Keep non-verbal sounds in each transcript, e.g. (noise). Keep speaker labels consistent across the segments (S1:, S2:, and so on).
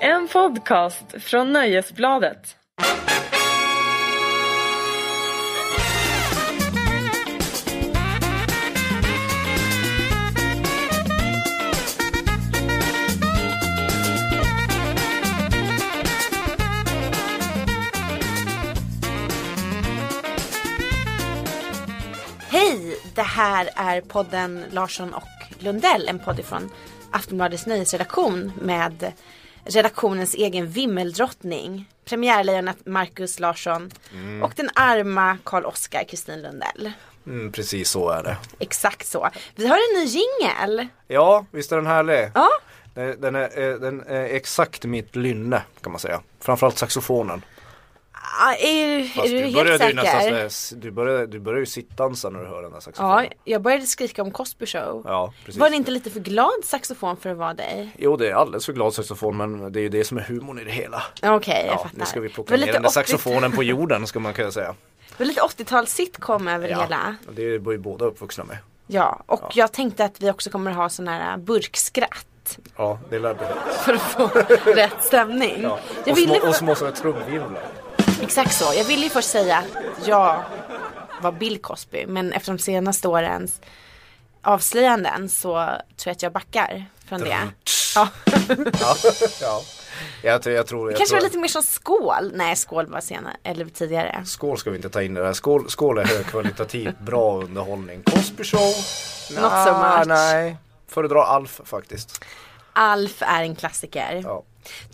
S1: En podcast från Nöjesbladet.
S2: Hej! Det här är podden Larsson och Lundell, en podd från Aftonbladets nyhetsredaktion med redaktionens egen vimmeldrottning, premiärlejonet Marcus Larsson och den arma Karl-Oskar Kristin Lundell.
S3: Mm, precis så är det.
S2: Exakt så. Vi har en ny jingel.
S3: Ja, visst är den härlig?
S2: Ja,
S3: Den den är, eh, den är exakt mitt lynne kan man säga. Framförallt saxofonen.
S2: ah, är, är du helt
S3: började ju nästan
S2: säker?
S3: sådär s- du, började, du började ju sittdansa när du hör den där
S2: Ja,
S3: saxofonen.
S2: jag började skrika om Cosby Show.
S3: Ja, precis.
S2: Var det inte lite för glad saxofon för att vara dig?
S3: Jo, det är alldeles för glad saxofon men det är ju det som är humorn i det hela.
S2: Okej, jag
S3: Ja,
S2: fattar.
S3: nu ska vi
S2: Det
S3: plocka
S2: var
S3: ner
S2: lite
S3: den där
S2: 80
S3: saxofonen på jorden ska man kunna säga.
S2: Det var lite 80-tals sitcom över det
S3: Ja,
S2: hela.
S3: och det var ju båda uppvuxna med.
S2: Ja, och jag tänkte att vi också kommer ha sån här äh, burkskratt. (laughs)
S3: Ja, det lär bli.
S2: För att få rätt stämning.
S3: Ja.
S2: Jag
S3: Och små,
S2: ville
S3: och
S2: för...
S3: små sådana trumvirvlar.
S2: Exakt så. Jag ville ju först säga att jag var Bill Cosby. Men efter de senaste årens avslöjanden så tror jag att jag backar från det. Ja.
S3: Ja, ja. Jag, tror- jag tror... Jag
S2: Kanske
S3: tror...
S2: var lite mer som skål. Nej, skål var senare. Eller tidigare.
S3: Skål ska vi inte ta in i det här. Skål, skål är högkvalitativt (laughs) bra underhållning. Cosby show?
S2: Not so much.
S3: Nej, föredrar Alf faktiskt.
S2: Alf är en klassiker.
S3: Ja. Mm.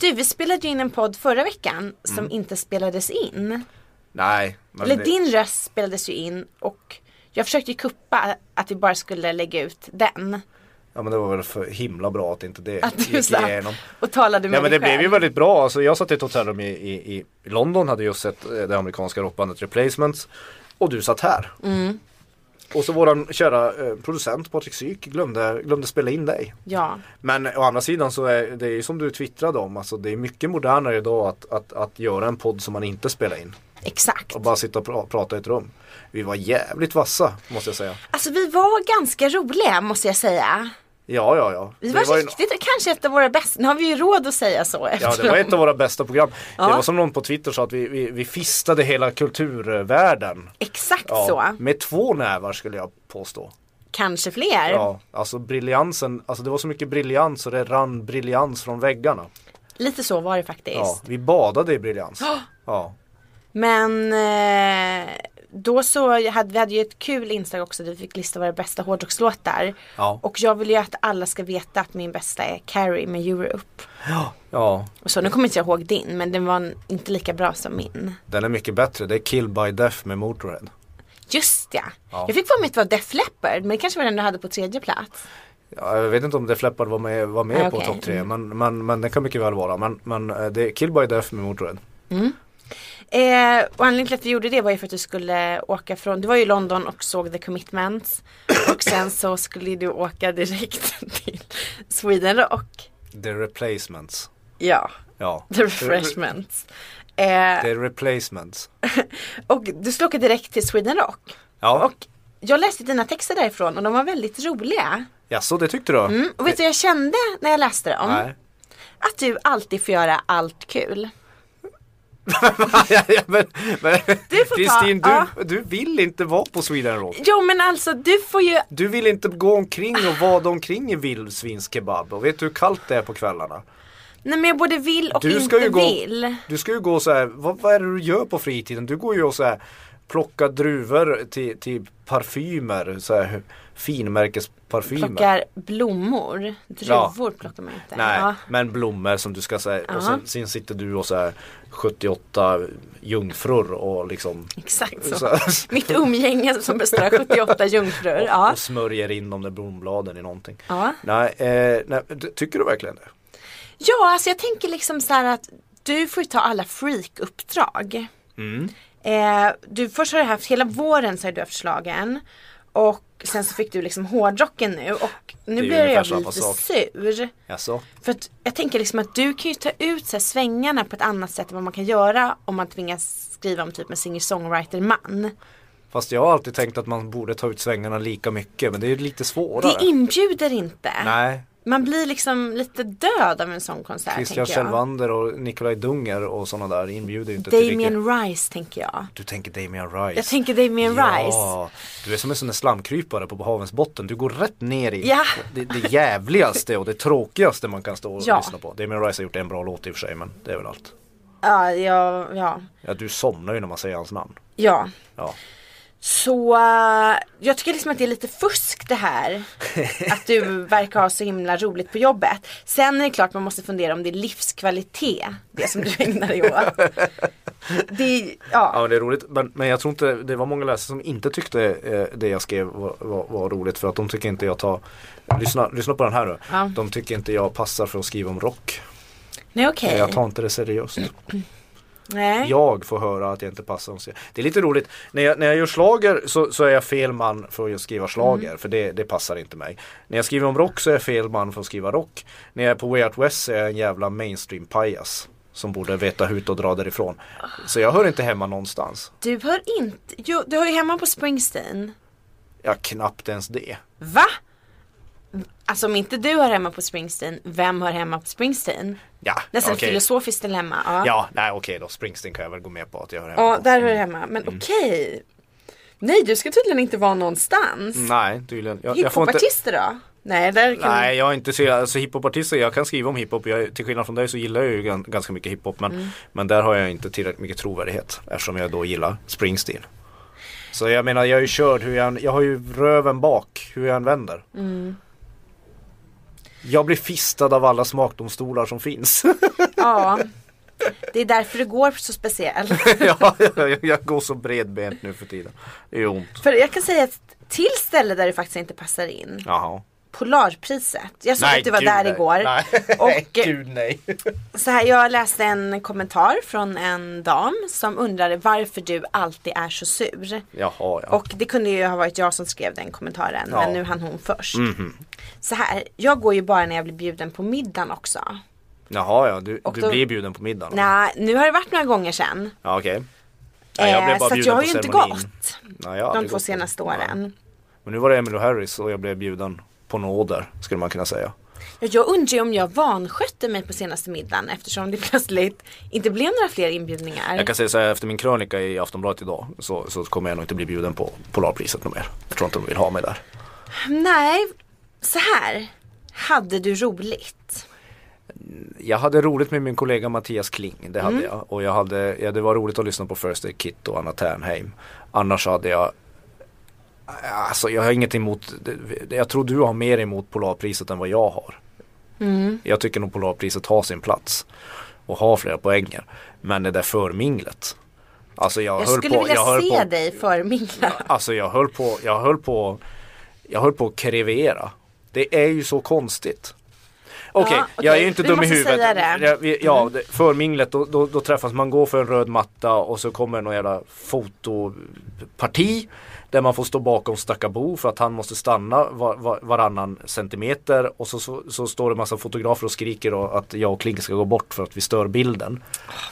S2: Du, vi spelade ju in en podd förra veckan som inte spelades in.
S3: Nej. men
S2: Eller
S3: det-
S2: din röst spelades ju in och jag försökte ju kuppa att vi bara skulle lägga ut den.
S3: Ja men det var väl för himla bra att inte det
S2: Att du
S3: gick
S2: satt
S3: igenom.
S2: och talade med
S3: Nej men
S2: dig
S3: det blev ju
S2: själv.
S3: väldigt bra. Alltså, jag satt i ett hotellrum i, i, i London, hade just sett eh, det amerikanska rockbandet Replacements. Och du satt här.
S2: Mm.
S3: Och så våran kära eh, producent Patrik Syk glömde, glömde spela in dig.
S2: Ja,
S3: Men å andra sidan så är det är ju som du twittrade om, alltså det är mycket modernare idag att, att, att göra en podd som man inte spelar in
S2: exakt.
S3: och bara sitta och pra, prata i ett rum. Vi var jävligt vassa måste jag säga.
S2: Alltså vi var ganska roliga måste jag säga.
S3: Ja, ja, ja.
S2: Vi
S3: Det
S2: var,
S3: ju-
S2: riktigt, kanske ett av våra bästa, nu har vi ju råd att säga så
S3: Ja,
S2: efteråt.
S3: det var ett av våra bästa program.
S2: Ja.
S3: Det var som någon på Twitter sa att vi, vi, vi fistade hela kulturvärlden.
S2: Exakt
S3: Ja,
S2: så,
S3: Med två nävar skulle jag påstå.
S2: kanske fler.
S3: Ja, alltså briljansen, alltså det var så mycket briljans så det rann briljans från väggarna.
S2: Lite så var det faktiskt.
S3: Ja, vi badade
S2: (gasps)
S3: i briljans. Ja.
S2: Men eh, då så hade vi hade ju ett kul inslag också där vi fick lista våra bästa hårdrockslåtar.
S3: Ja.
S2: Och jag vill ju att alla ska veta att min bästa är Carrie med Europe.
S3: ja,
S2: Och så nu kommer inte jag ihåg din men den var n- inte lika bra som min.
S3: Den är mycket bättre, det är Kill by Death med Motörhead.
S2: Just ja.
S3: Ja.
S2: Jag fick för mig att det var Def Leppard men det kanske var den du hade på tredje plats.
S3: Ja, jag vet inte om Def Leppard var med, var med
S2: Nej,
S3: på
S2: okej. Mm.
S3: topp tre, men, men, men det kan mycket väl vara. Men, men eh, det är Kill by Death med Motörhead.
S2: Eh, och anledningen till att vi gjorde det var ju för att du skulle åka från, du var ju i London och såg The Commitments. Och sen så skulle du åka direkt (laughs) till Sweden Rock.
S3: The Replacements.
S2: Ja,
S3: Ja.
S2: (laughs) The Refreshments. Eh,
S3: The Replacements.
S2: och du skulle åka direkt till Sweden Rock.
S3: Ja,
S2: Och jag läste dina texter därifrån och de var väldigt roliga.
S3: ja så det tyckte du?
S2: Mm, och vet du vad jag kände när jag läste dem?
S3: Nej. (laughs)
S2: Att du alltid får göra allt kul.
S3: ja, ja, men, men
S2: Du får ta-
S3: Kristin, du,
S2: ja.
S3: du vill inte vara på Sweden Rock.
S2: Jo men alltså du får ju,
S3: Du vill inte gå omkring och vada omkring i vildsvinskebab. Och vet du hur kallt det är på kvällarna?
S2: nej men jag både vill och
S3: Du
S2: inte
S3: ska ju gå,
S2: vill.
S3: du ska ju gå så här, vad, vad är det du gör på fritiden? Du går ju och så här plockar druvor till, till parfymer, så här finmärkesparfymer.
S2: Plockar blommor, druvor plockar man inte.
S3: Nej,
S2: Ja.
S3: men blommor som du ska säga och
S2: Ja.
S3: sen, sen sitter du och så här 78 jungfrur och liksom
S2: Exakt så.
S3: så här,
S2: Mitt umgänge som består av 78 jungfrur. Ja.
S3: och smörjer in de där blombladen i någonting.
S2: Ja.
S3: Nej, eh, nej, ty- tycker du verkligen det?
S2: Ja, alltså jag tänker liksom så här att du får ju ta alla freak-uppdrag. Eh, du, först har du haft, hela våren så har du haft slagen Och sen så fick du liksom hårdrocken nu och nu
S3: ju
S2: blir jag
S3: ungefär
S2: lite
S3: samma sak.
S2: sur.
S3: Alltså,
S2: För att jag tänker liksom att du kan ju ta ut så här svängarna på ett annat sätt än vad man kan göra om man tvingas skriva om typ en singer-songwriter-man.
S3: fast jag har alltid tänkt att man borde ta ut svängarna lika mycket men det är ju lite svårare.
S2: Det inbjuder inte.
S3: Nej,
S2: Man blir liksom lite död av en sån konsert.
S3: Christian
S2: tänker jag.
S3: Kjellvander och Nikolaj Dunger och sådana där inbjuder ju inte till riktigt.
S2: Damien Rice tänker jag.
S3: Du tänker Damien Rice.
S2: Jag tänker Damien Rice.
S3: Ja, du är som en sån där slamkrypare på havens botten. Du går rätt ner i
S2: Ja.
S3: det, det jävligaste och det tråkigaste man kan stå och
S2: Ja.
S3: lyssna på. Damien Rice har gjort en bra låt i och för sig men det är väl allt.
S2: Ja, ja, ja.
S3: Ja, du somnar ju när man säger hans namn.
S2: ja.
S3: Ja.
S2: Så eh, jag tycker liksom att det är lite fusk det
S3: (laughs)
S2: här. Att du verkar ha så himla roligt på jobbet. Sen är det klart man måste fundera om det är livskvalitet. Det som du ägnar dig åt. Det är,
S3: Ja
S2: ja.
S3: men det är roligt men, men jag tror inte det var många läsare som inte tyckte eh, det jag skrev var, var, var roligt för att de tycker inte jag tar Lyssna, lyssna på den här nu
S2: Ja.
S3: De tycker inte jag passar för att skriva om rock
S2: Nej okej.
S3: Jag tar inte det seriöst
S2: Nej.
S3: Jag får höra att jag inte passar om seriöst Det är lite roligt När jag, när jag gör slager så, så är jag fel man för att just skriva slager
S2: Mm.
S3: för det, det passar inte mig När jag skriver om rock så är jag fel man för att skriva rock När jag är på Way Out West så är jag en jävla mainstream pajas Som borde veta hut och dra därifrån Så jag hör inte hemma någonstans
S2: Du hör inte, jo, du hör ju hemma på Springsteen.
S3: Ja knappt ens det
S2: Va? Alltså om inte du hör hemma på Springsteen, vem hör hemma på Springsteen?
S3: Ja,
S2: Nästan
S3: okej.
S2: filosofiskt dilemma. Ja.
S3: Ja, nej okej då. Springsteen kan jag väl gå med på att jag hör hemma
S2: Ja,
S3: på.
S2: där hör det hemma. Men
S3: Mm.
S2: okej. Nej, du ska tydligen inte vara någonstans.
S3: Nej, tydligen. Jag, jag får inte...
S2: Hiphopartister då? Nej, där kan
S3: Nej, jag är inte så, alltså hiphopartister, jag kan skriva om hiphop. Jag, till skillnad från dig så gillar jag ju gan- ganska mycket hiphop.
S2: Mm.
S3: Men, men där har jag inte tillräckligt mycket trovärdighet. Eftersom jag då gillar Springsteen. Så jag menar, jag är ju körd. Hur jag, än- jag har ju röven bak, hur jag än vänder.
S2: Mm.
S3: Jag blir fistad av alla smakdomstolar som finns. (laughs)
S2: Ja. Det är därför det går så speciellt.
S3: ja, jag, jag går så bredbent nu för tiden. Det är ont.
S2: För jag kan säga ett till ställe där du faktiskt inte passar in.
S3: Jaha.
S2: Polarpriset. Jag såg att du var
S3: gud,
S2: där
S3: nej.
S2: igår.
S3: Nej,
S2: (laughs) Och-
S3: (laughs) gud nej.
S2: Så här, jag läste en kommentar från en dam som undrade varför du alltid är så sur.
S3: Jaha, ja.
S2: Och det kunde ju ha varit jag som skrev den kommentaren
S3: Ja. Mhm.
S2: men nu hann hon först. Så här, jag går ju bara när jag blir bjuden på middagen också.
S3: Jaha, ja. Du,
S2: Och
S3: du
S2: då-
S3: blir bjuden på middagen?
S2: Nej, nu har det varit några gånger sen.
S3: Ja, okej. Ja, jag blev bara
S2: Eh, så att
S3: bjuden
S2: jag har
S3: på
S2: ju inte
S3: ceremonin.
S2: gått
S3: Nej, jag har
S2: de
S3: aldrig
S2: två
S3: gått på-
S2: senaste åren.
S3: Men nu var det Emily och Harris och jag blev bjuden på nåder, skulle man kunna säga.
S2: Ja, Jag undrar ju om jag vanskötte mig på senaste middagen eftersom det plötsligt inte blev några fler inbjudningar.
S3: Jag kan säga så här, efter min krönika i Aftonbladet idag så, så kommer jag nog inte bli bjuden på Polarpriset något mer. Jag tror inte de vill ha mig där.
S2: Nej, så här. Hade du roligt?
S3: Jag hade roligt med min kollega Mattias Kling, det
S2: Mm.
S3: hade jag. Och jag hade, ja, det var roligt att lyssna på First Aid Kit och Anna Ternheim. Annars hade jag Alltså jag har inget emot, det- jag tror du har mer emot Polarpriset än vad jag har.
S2: Mm.
S3: Jag tycker nog Polarpriset har sin plats och har flera poänger. Men det där förminglet. Alltså jag,
S2: Jag
S3: höll
S2: skulle
S3: på,
S2: vilja
S3: jag höll
S2: se
S3: på,
S2: dig förmingla.
S3: Alltså jag höll på, jag höll på, jag höll på att krevera. Det är ju så konstigt. Okej,
S2: Ja,
S3: jag är
S2: okej.
S3: ju inte
S2: Vi
S3: dum i
S2: måste
S3: huvudet.
S2: säga det. Mm.
S3: Ja, vi- Ja, det- förminglet, då, då, då träffas man, går för en röd matta och så kommer någon jävla fotoparti. Där man får stå bakom Stackabo för att han måste stanna var, var, varannan centimeter. Och så, så, så står det massa fotografer och skriker och att jag och Kling ska gå bort för att vi stör bilden.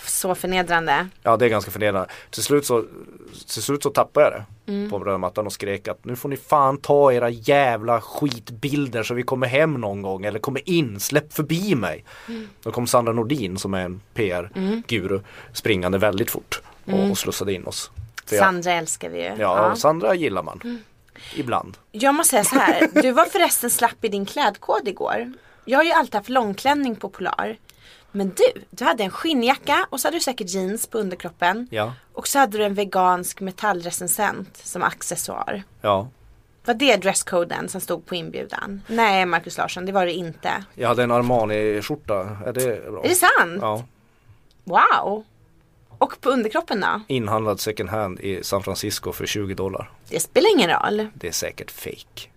S2: Så förnedrande.
S3: Ja det är ganska förnedrande. Till slut så, till slut så tappade jag det
S2: Mm.
S3: på röda mattan och skrek att nu får ni fan ta era jävla skitbilder så vi kommer hem någon gång eller kommer in, släpp förbi mig.
S2: Mm.
S3: Då kom Sandra Nordin som är en PR-guru springande väldigt fort och, och slussade in oss. För jag,
S2: Mm. Sandra Mm. älskar vi ju.
S3: ja, Sandra gillar man. Ibland.
S2: Jag måste säga så här, du var förresten slapp i din klädkod igår. Jag har ju alltid haft långklänning på Polar. Men du, du hade en skinnjacka och så hade du säkert jeans på underkroppen.
S3: Ja,
S2: Och så hade du en vegansk metallrecensent som accessoar.
S3: ja.
S2: Var det dresscoden som stod på inbjudan? Nej, Markus Larsson, det var det inte.
S3: Jag hade en Armani-skjorta, är det bra?
S2: Är det sant?
S3: Ja,
S2: Wow! Och på underkroppen då?
S3: inhandlad second hand i San Francisco för 20 dollar.
S2: Det spelar ingen roll.
S3: Det är säkert fake.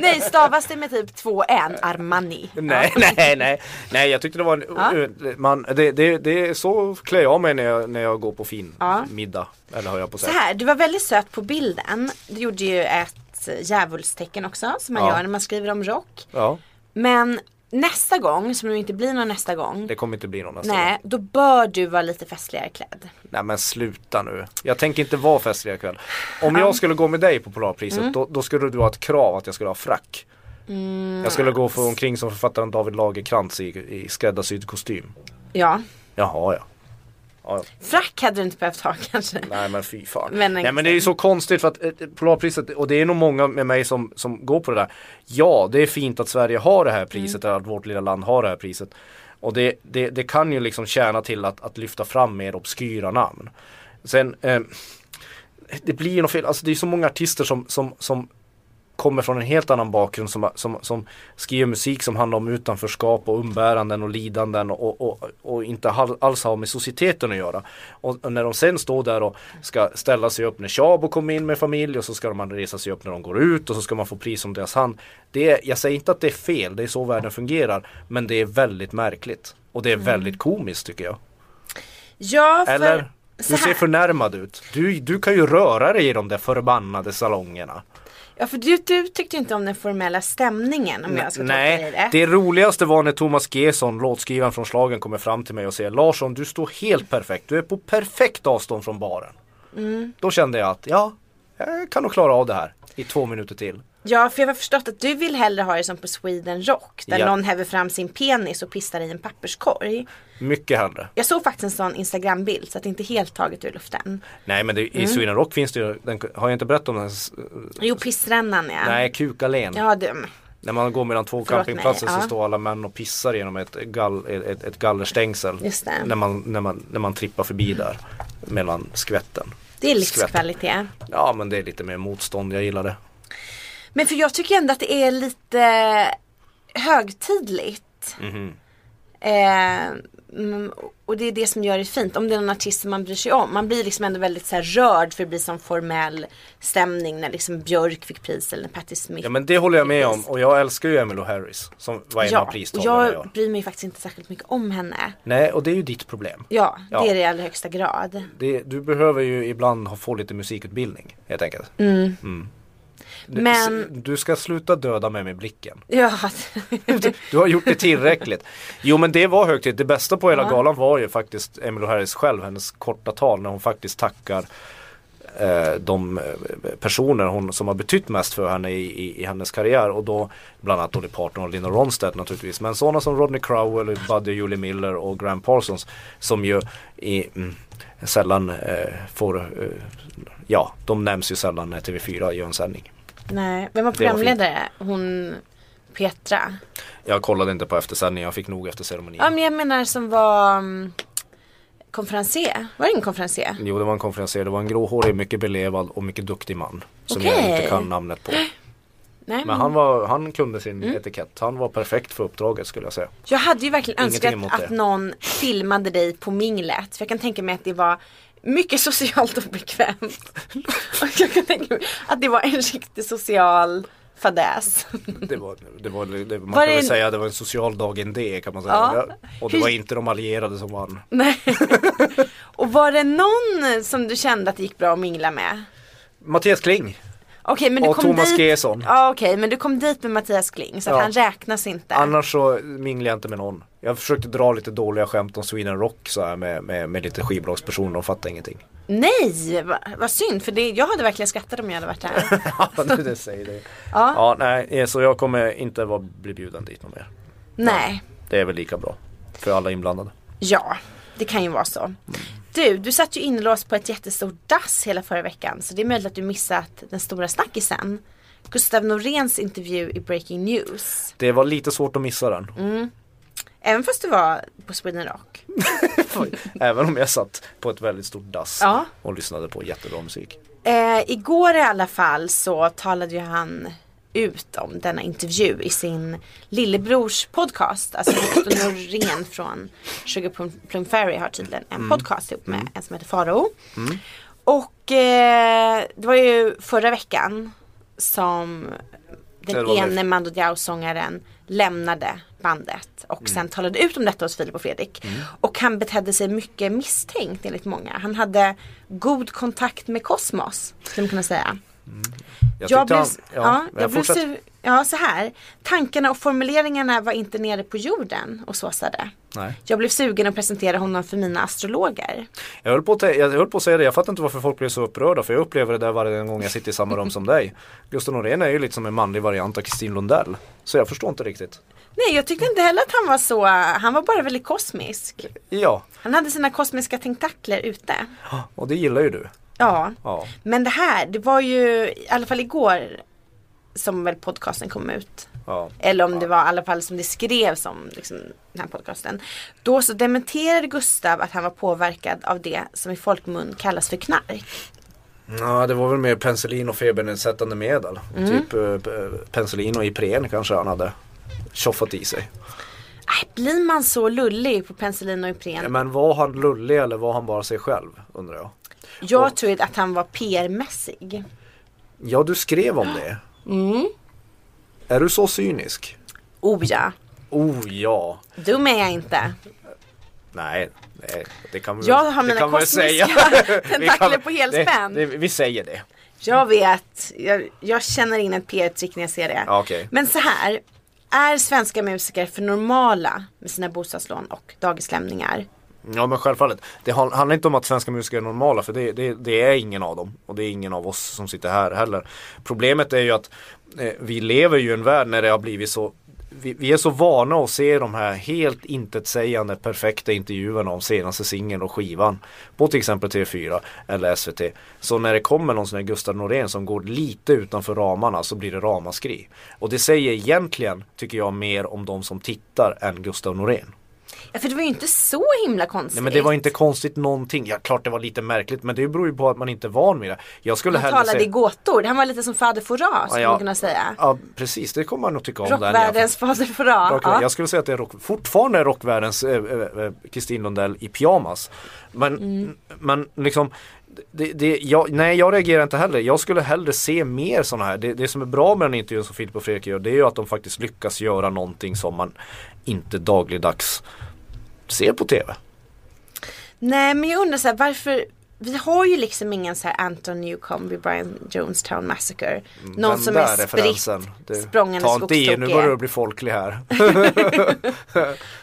S2: Nej, stavas det med typ två N? Armani.
S3: (laughs) Nej, nej, nej. Nej, jag tyckte det var en... Man, det, det, det, så klär jag mig när jag, när jag går på fin
S2: Ja.
S3: middag. Eller har jag på
S2: Så
S3: sig.
S2: här, du var väldigt söt på bilden. Du gjorde ju ett djävulstecken också som man
S3: Ja.
S2: gör när man skriver om rock.
S3: Ja,
S2: Men nästa gång, som nu inte blir någon nästa gång.
S3: det kommer inte bli någon nästa
S2: Nej,
S3: gång.
S2: då bör du vara lite festligare klädd.
S3: Nej men sluta nu. Jag tänker inte vara
S2: Mm.
S3: festlig ikväll. Om jag skulle gå med dig på Polarpriset då, då skulle du ha ett krav att jag skulle ha frack.
S2: Mm.
S3: Jag skulle gå för omkring som författaren David Lagerkrantz i, i skräddarsydd kostym.
S2: Ja.
S3: Jaha ja. ja.
S2: Frack hade du inte behövt ha kanske.
S3: (laughs) Nej men fy fan.
S2: Men-
S3: Nej men det är ju så konstigt för att eh, Polarpriset, och det är nog många med mig som, som går på det där. Ja, det är fint att Sverige har det här priset, eller att vårt lilla land har det här priset. Och det, det, det kan ju liksom tjäna till att, att lyfta fram mer obskyra namn. Sen, eh, det blir ju något fel, alltså det är så många artister som, som, som kommer från en helt annan bakgrund som, som, som skriver musik som handlar om utanförskap och umbäranden och lidanden och, och, och inte hal- alls har med societeten att göra. Och och när de sen står där och ska ställa sig upp när Chabo kommer in med familj och så ska man resa sig upp när de går ut och så ska man få pris om deras hand. Det är, jag säger inte att det är fel, det är så världen fungerar, men det är väldigt märkligt. Och det är väldigt komiskt tycker jag.
S2: Ja, Mm. för...
S3: Eller?
S2: så
S3: Du ser
S2: här.
S3: förnärmad ut. Du, du kan ju röra dig i de där förbannade salongerna.
S2: Ja, för du, du tyckte inte om den formella stämningen om jag ska tolka dig
S3: Nej,
S2: rätt.
S3: det roligaste var när Thomas Gesson, låtskrivaren från slagen kommer fram till mig och säger Larsson, du står helt perfekt. Du är på perfekt avstånd från baren.
S2: Mm.
S3: Då kände jag att, ja, jag kan nog klara av det här i två minuter till.
S2: Ja, för jag har förstått att du vill hellre ha det som på Sweden Rock. Där
S3: Ja.
S2: någon häver fram sin penis och pissar i en papperskorg.
S3: Mycket hellre.
S2: Jag såg faktiskt en sån Instagram-bild så att det inte är helt taget ur luften.
S3: Nej men det,
S2: Mm.
S3: i Sweden Rock finns det ju, den, har jag inte berättat om den? s-
S2: Jo, pissrännan ja.
S3: Nej, Kukalén.
S2: Ah. Ja, du.
S3: När man går mellan två
S2: Förlåt
S3: campingplatser
S2: mig,
S3: så
S2: ja.
S3: står alla män och pissar genom ett, gall, ett, ett gallerstängsel.
S2: Just det.
S3: När, man, när, man, när man trippar förbi där. Mellan skvätten.
S2: Det är
S3: Skvätt.
S2: livskvalitet.
S3: Ja men det är lite mer motstånd, jag gillar det.
S2: Men för jag tycker ändå att det är lite högtidligt.
S3: Mhm.
S2: Eh, mm, och det är det som gör det fint. Om det är någon artist som man bryr sig om. Man blir liksom ändå väldigt så här rörd för det blir sån formell stämning när liksom Björk fick pris eller när Patti Smith
S3: Ja men det håller jag med om
S2: Precis.
S3: och jag älskar ju Emmylou Harris som var en av
S2: Ja, och
S3: pristagarna i
S2: jag
S3: år.
S2: bryr mig faktiskt inte särskilt mycket om henne.
S3: Nej och det är ju ditt problem.
S2: Ja,
S3: Ja.
S2: det är det i allra högsta grad. (laughs)
S3: Det, du behöver ju ibland ha- få lite musikutbildning helt enkelt. Mm. Du,
S2: Men-
S3: s- du ska sluta döda mig med blicken.
S2: Ja,
S3: Du har gjort det tillräckligt. Jo men det var högtid. Det bästa på hela
S2: Ja.
S3: galan var ju faktiskt Emmylou Harris själv, hennes korta tal när hon faktiskt tackar eh, de eh, personer hon, som har betytt mest för henne i, i, i hennes karriär och då bland annat Dolly Parton och Lina Ronstedt naturligtvis men sådana som Rodney Crowell, Buddy och Julie Miller och Graham Parsons som ju i, mm, sällan eh, får, eh, ja de nämns ju sällan när TV4 gör en sändning.
S2: (laughs) nej. Vem var
S3: Det var fint.
S2: programledare? Hon Petra.
S3: Jag kollade inte på eftersändningen, jag fick nog efter ceremonin.
S2: Ja, men jag menar som var mm, konferencier. Var det ingen konferencier?
S3: Jo det var en konferenser, det var en gråhårig, mycket belevad och mycket duktig man. Som jag
S2: Okej.
S3: inte kan namnet på.
S2: Nej.
S3: Men han, var, han kunde sin
S2: Mm.
S3: etikett, han var perfekt för uppdraget skulle jag säga.
S2: Jag hade ju verkligen
S3: Ingenting
S2: önskat
S3: emot
S2: att
S3: det.
S2: någon filmade dig på minglet. För jag kan tänka mig att det var mycket (laughs) socialt obekvämt.
S3: (laughs)
S2: Och jag kan tänka mig att det var en riktig social fadäs. (laughs)
S3: Det var, det var, det, man
S2: Var
S3: kan
S2: det-
S3: väl säga att det var en social dag en det kan man säga.
S2: Ja.
S3: Och det
S2: Hur-
S3: var inte de allierade som vann.
S2: Nej. Och var det någon som du kände att det gick bra att mingla med?
S3: Mattias Kling
S2: Okej men du
S3: och
S2: kom
S3: Thomas
S2: dit.
S3: Gesson.
S2: Ja okej men du kom dit med Mattias Kling så att
S3: Ja.
S2: han räknas inte.
S3: Annars så minglar jag inte med någon. Jag försökte dra lite dåliga skämt om Sweden Rock så här med, med, med lite skivbolagspersoner, de fattade ingenting. (laughs)
S2: Nej va- vad synd för det, jag hade verkligen skrattat om jag hade varit
S3: (laughs)
S2: där.
S3: ja, det det säger det.
S2: Ja,
S3: Ja, nej, så jag kommer inte vara, bli bjuden dit någon mer.
S2: nej.
S3: Det är väl lika bra för alla inblandade.
S2: Ja, det kan ju vara så. Du, du satt ju inlåst på ett jättestort dass hela förra veckan så det är möjligt att du missat den stora snackisen. Gustav Noréns intervju i Breaking News.
S3: Det var lite svårt att missa den.
S2: Mm. Även fast du var på Sweden Rock.
S3: Även om jag satt på ett väldigt stort dass
S2: Ja.
S3: och lyssnade på jättebra musik.
S2: Eh, igår i alla fall så talade ju han ut om denna intervju i sin lillebrors podcast. Alltså Gustav Norén från Sugar Plum, Plum Fairy har tydligen en podcast ihop med en som heter Farao. Och eh, det var ju förra veckan som
S3: Det
S2: den
S3: var
S2: ene Mando Diao-sångaren lämnade bandet
S3: Mm.
S2: och sen talade ut om detta hos Filip och Fredrik. Och han betedde sig mycket misstänkt enligt många. Han hade god kontakt med kosmos, skulle man kunna säga.
S3: Jag
S2: Jag
S3: tyckte
S2: blev,
S3: han,
S2: ja,
S3: ja,
S2: jag blev
S3: fortsätt.
S2: sur, ja, så här. Tankarna och formuleringarna var inte nere på jorden och såsade.
S3: Nej.
S2: Jag blev sugen att presentera honom för mina astrologer.
S3: Jag höll, på att, tä- jag höll på att säga det, jag fattar inte varför folk blir så upprörda för jag upplever det där varje gång jag sitter i samma
S2: (laughs)
S3: rum som dig. Gustav Norén är ju lite som en manlig variant av Kristin Lundell. Så jag förstår inte riktigt.
S2: Nej, jag tyckte inte heller att han var så, han var bara väldigt kosmisk.
S3: Ja,
S2: Han hade sina kosmiska tentakler ute.
S3: och det gillar ju du.
S2: Ja,
S3: Ja,
S2: men det här, det var ju i alla fall igår som väl podcasten kom ut.
S3: ja.
S2: Eller om det var i alla fall som det skrevs om liksom, den här podcasten. Då så dementerade Gustav att han var påverkad av det som i folkmun kallas för knark.
S3: ja det var väl mer penicillin och febernedsättande medel.
S2: Mm.
S3: Typ eh, p- penicillin och Ipren kanske han hade tjoffat i sig.
S2: Äh, blir man så lullig på penicillin och Ipren?
S3: Men var han lullig eller var han bara sig själv undrar jag.
S2: Jag tror att han var PR-mässig.
S3: Ja, du skrev om det.
S2: Mm.
S3: Är du så cynisk?
S2: Oh ja,
S3: Oh ja.
S2: dum är jag inte.
S3: Nej, nej det kan vi
S2: Jag har
S3: det
S2: mina
S3: kan vi väl
S2: kosmiska
S3: Vi kan-
S2: (laughs) tentakler på helspänn.
S3: Det, det, vi säger det.
S2: Jag vet, jag, jag känner in ett PR-trick när jag ser det.
S3: Ja, Ah, okej.
S2: Men så här, är svenska musiker för normala med sina bostadslån och dagislämningar?
S3: Ja men självfallet. Det han- handlar inte om att svenska musiker är normala för det, det, det är ingen av dem. Och det är ingen av oss som sitter här heller. Problemet är ju att eh, vi lever ju i en värld när det har blivit så vi, vi är så vana att se de här helt intetsägande perfekta intervjuerna om senaste singeln och skivan på till exempel TV4 eller SVT. Så när det kommer någon sån här Gustav Norén som går lite utanför ramarna så blir det ramaskri. Och det säger egentligen, tycker jag, mer om de som tittar än Gustav Norén.
S2: Ja, för det var ju inte så himla konstigt.
S3: Nej men det var inte konstigt någonting. Ja klart det var lite märkligt men det beror ju på att man inte är van vid det. Jag skulle
S2: Han
S3: hellre
S2: talade i
S3: säga...
S2: gåtor, han var lite som fader Fouras skulle
S3: Ah, Ja,
S2: man kunna säga.
S3: Ja precis det kommer man nog tycka om. där i alla fall.
S2: Rockvärldens fader Fouras.
S3: Rock,
S2: Ja.
S3: Jag skulle säga att det är rock, fortfarande är rockvärldens eh, eh, eh, Kristin Lundell i pyjamas. Men,
S2: Mm.
S3: men liksom det, det, jag, nej jag reagerar inte heller. Jag skulle hellre se mer sådana här. Det, det som är bra med den intervjun som Filip och Fredrik gör det är ju att de faktiskt lyckas göra någonting som man inte dagligdags ser på TV.
S2: Nej men jag undrar så här, varför vi har ju liksom ingen så här Anton Newcomb vid Brian Jonestown Massacre. Någon
S3: Den
S2: som
S3: Mm. där
S2: är spritt
S3: referensen. Det-
S2: språngande
S3: Ta inte i, nu
S2: skogstokig.
S3: börjar det bli
S2: (laughs)
S3: folklig här.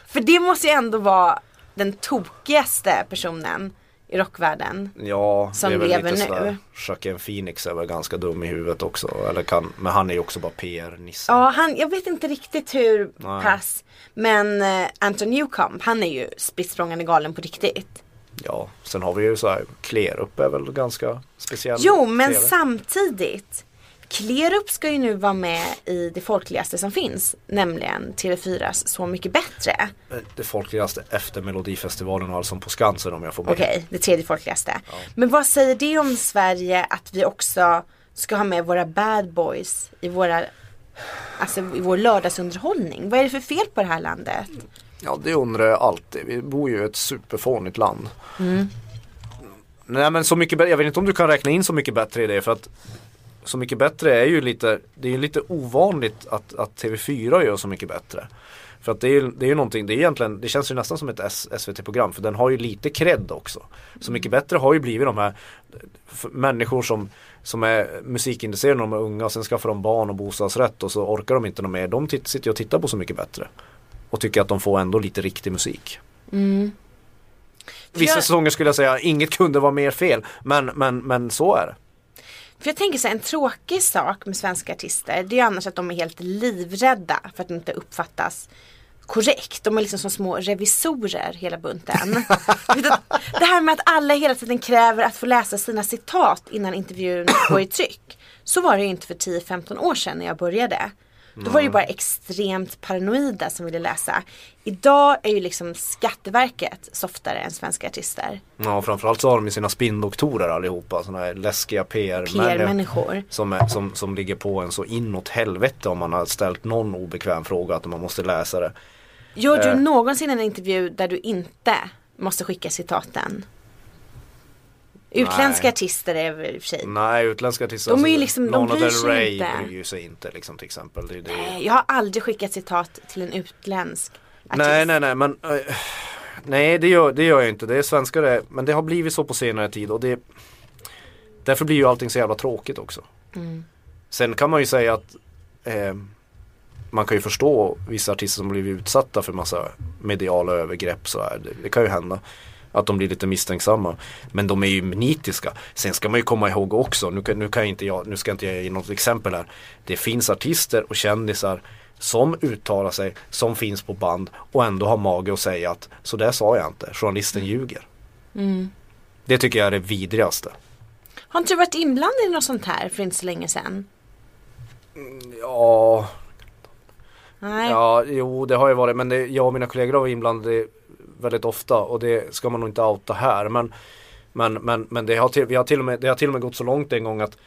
S2: För det måste ju ändå vara den tokigaste personen i rockvärlden.
S3: Ja,
S2: Som
S3: det är väl
S2: lever
S3: lite
S2: nu.
S3: sådär. Joaquin Phoenix är väl ganska dum i huvudet också. Eller kan, men han är ju också bara PR-nissen.
S2: Ja, han, jag vet inte riktigt hur
S3: Nej.
S2: pass. Men eh, Anton Newcomb, han är ju spritt språngande galen på riktigt.
S3: Ja, sen har vi ju så här Klerup är väl ganska speciell.
S2: Jo, men
S3: TV.
S2: samtidigt. Klerup ska ju nu vara med i det folkligaste som finns, nämligen TV4s Så mycket bättre.
S3: Eh, Det folkligaste efter Melodifestivalen och Allsång på Skansen om jag får med.
S2: Okej, det tredje folkligaste. Men vad säger det om Sverige att vi också ska ha med våra bad boys i våra Alltså i vår lördagsunderhållning. Vad är det för fel på det här landet?
S3: Ja, det undrar jag alltid. Vi bor ju i ett superfånigt land.
S2: Mm.
S3: Nej men så mycket bättre, jag vet inte om du kan räkna in så mycket bättre i det för att Så mycket bättre är ju lite, det är ju lite ovanligt att, att TV4 gör så mycket bättre. För att det är ju det är ju någonting, det är egentligen, det känns ju nästan som ett S- SVT-program för den har ju lite cred också. Så mycket bättre har ju blivit de här f- människor som, som är musikintresserade när de är unga och sen skaffar de barn och bostadsrätt och så orkar de inte något mer. De titt, sitter ju och tittar på Så mycket bättre. Och tycker att de får ändå lite riktig musik. Vissa
S2: Jag-
S3: säsonger skulle jag säga, inget kunde vara mer fel. Men, men, men så är det.
S2: För jag tänker så här, en tråkig sak med svenska artister det är ju annars att de är helt livrädda för att de inte uppfattas korrekt. De är liksom som små revisorer hela bunten. Du vet att det här med att alla hela tiden kräver att få läsa sina citat innan intervjun går i tryck. Så var det ju inte för 10-15 år sedan när jag började. Då var det ju bara extremt paranoida som ville läsa. Idag är ju liksom Skatteverket softare än svenska artister.
S3: Ja, framförallt så har de ju sina spindoktorer allihopa. Sådana här läskiga PR-människor.
S2: PR-människor.
S3: Som, är, som, som ligger på en så inåt helvete om man har ställt någon obekväm fråga att man måste läsa det.
S2: Gör du
S3: Eh.
S2: någonsin en intervju där du inte måste skicka citaten? Utländska
S3: Nej.
S2: artister är väl i och för sig.
S3: Nej, utländska artister. alltså,
S2: De är ju liksom- de
S3: Lana
S2: bryr
S3: Del
S2: sig
S3: Rey
S2: inte.
S3: bryr ju sig inte liksom till exempel. Det, det,
S2: Nej, Jag har aldrig skickat citat till en utländsk artist.
S3: Nej, nej, nej, men eh, Nej, det gör, det gör jag inte. Det är svenskar det, men det har
S2: Mm.
S3: blivit så på senare tid och det Därför blir ju allting så jävla tråkigt också. Sen kan man ju säga att eh, man kan ju förstå vissa artister som blivit utsatta för massa mediala övergrepp så här. Det, det kan ju hända. Att de blir lite misstänksamma. Men de är ju nitiska. Sen ska man ju komma ihåg också, nu kan, nu kan inte jag, nu ska inte jag ge något exempel här. Det finns artister och kändisar som uttalar sig, som finns på band och ändå har mage att säga att så där sa jag inte, journalisten ljuger. Det tycker jag är det vidrigaste.
S2: Har inte du varit inblandad i något sånt här för inte så länge sedan?
S3: Ja,
S2: Nej.
S3: Ja, jo det har ju varit men det, jag och mina kollegor har varit inblandade väldigt ofta och det ska man nog inte outa här. Men, men, men, men det, har till, vi har till och med, det har till och med gått så långt en gång att,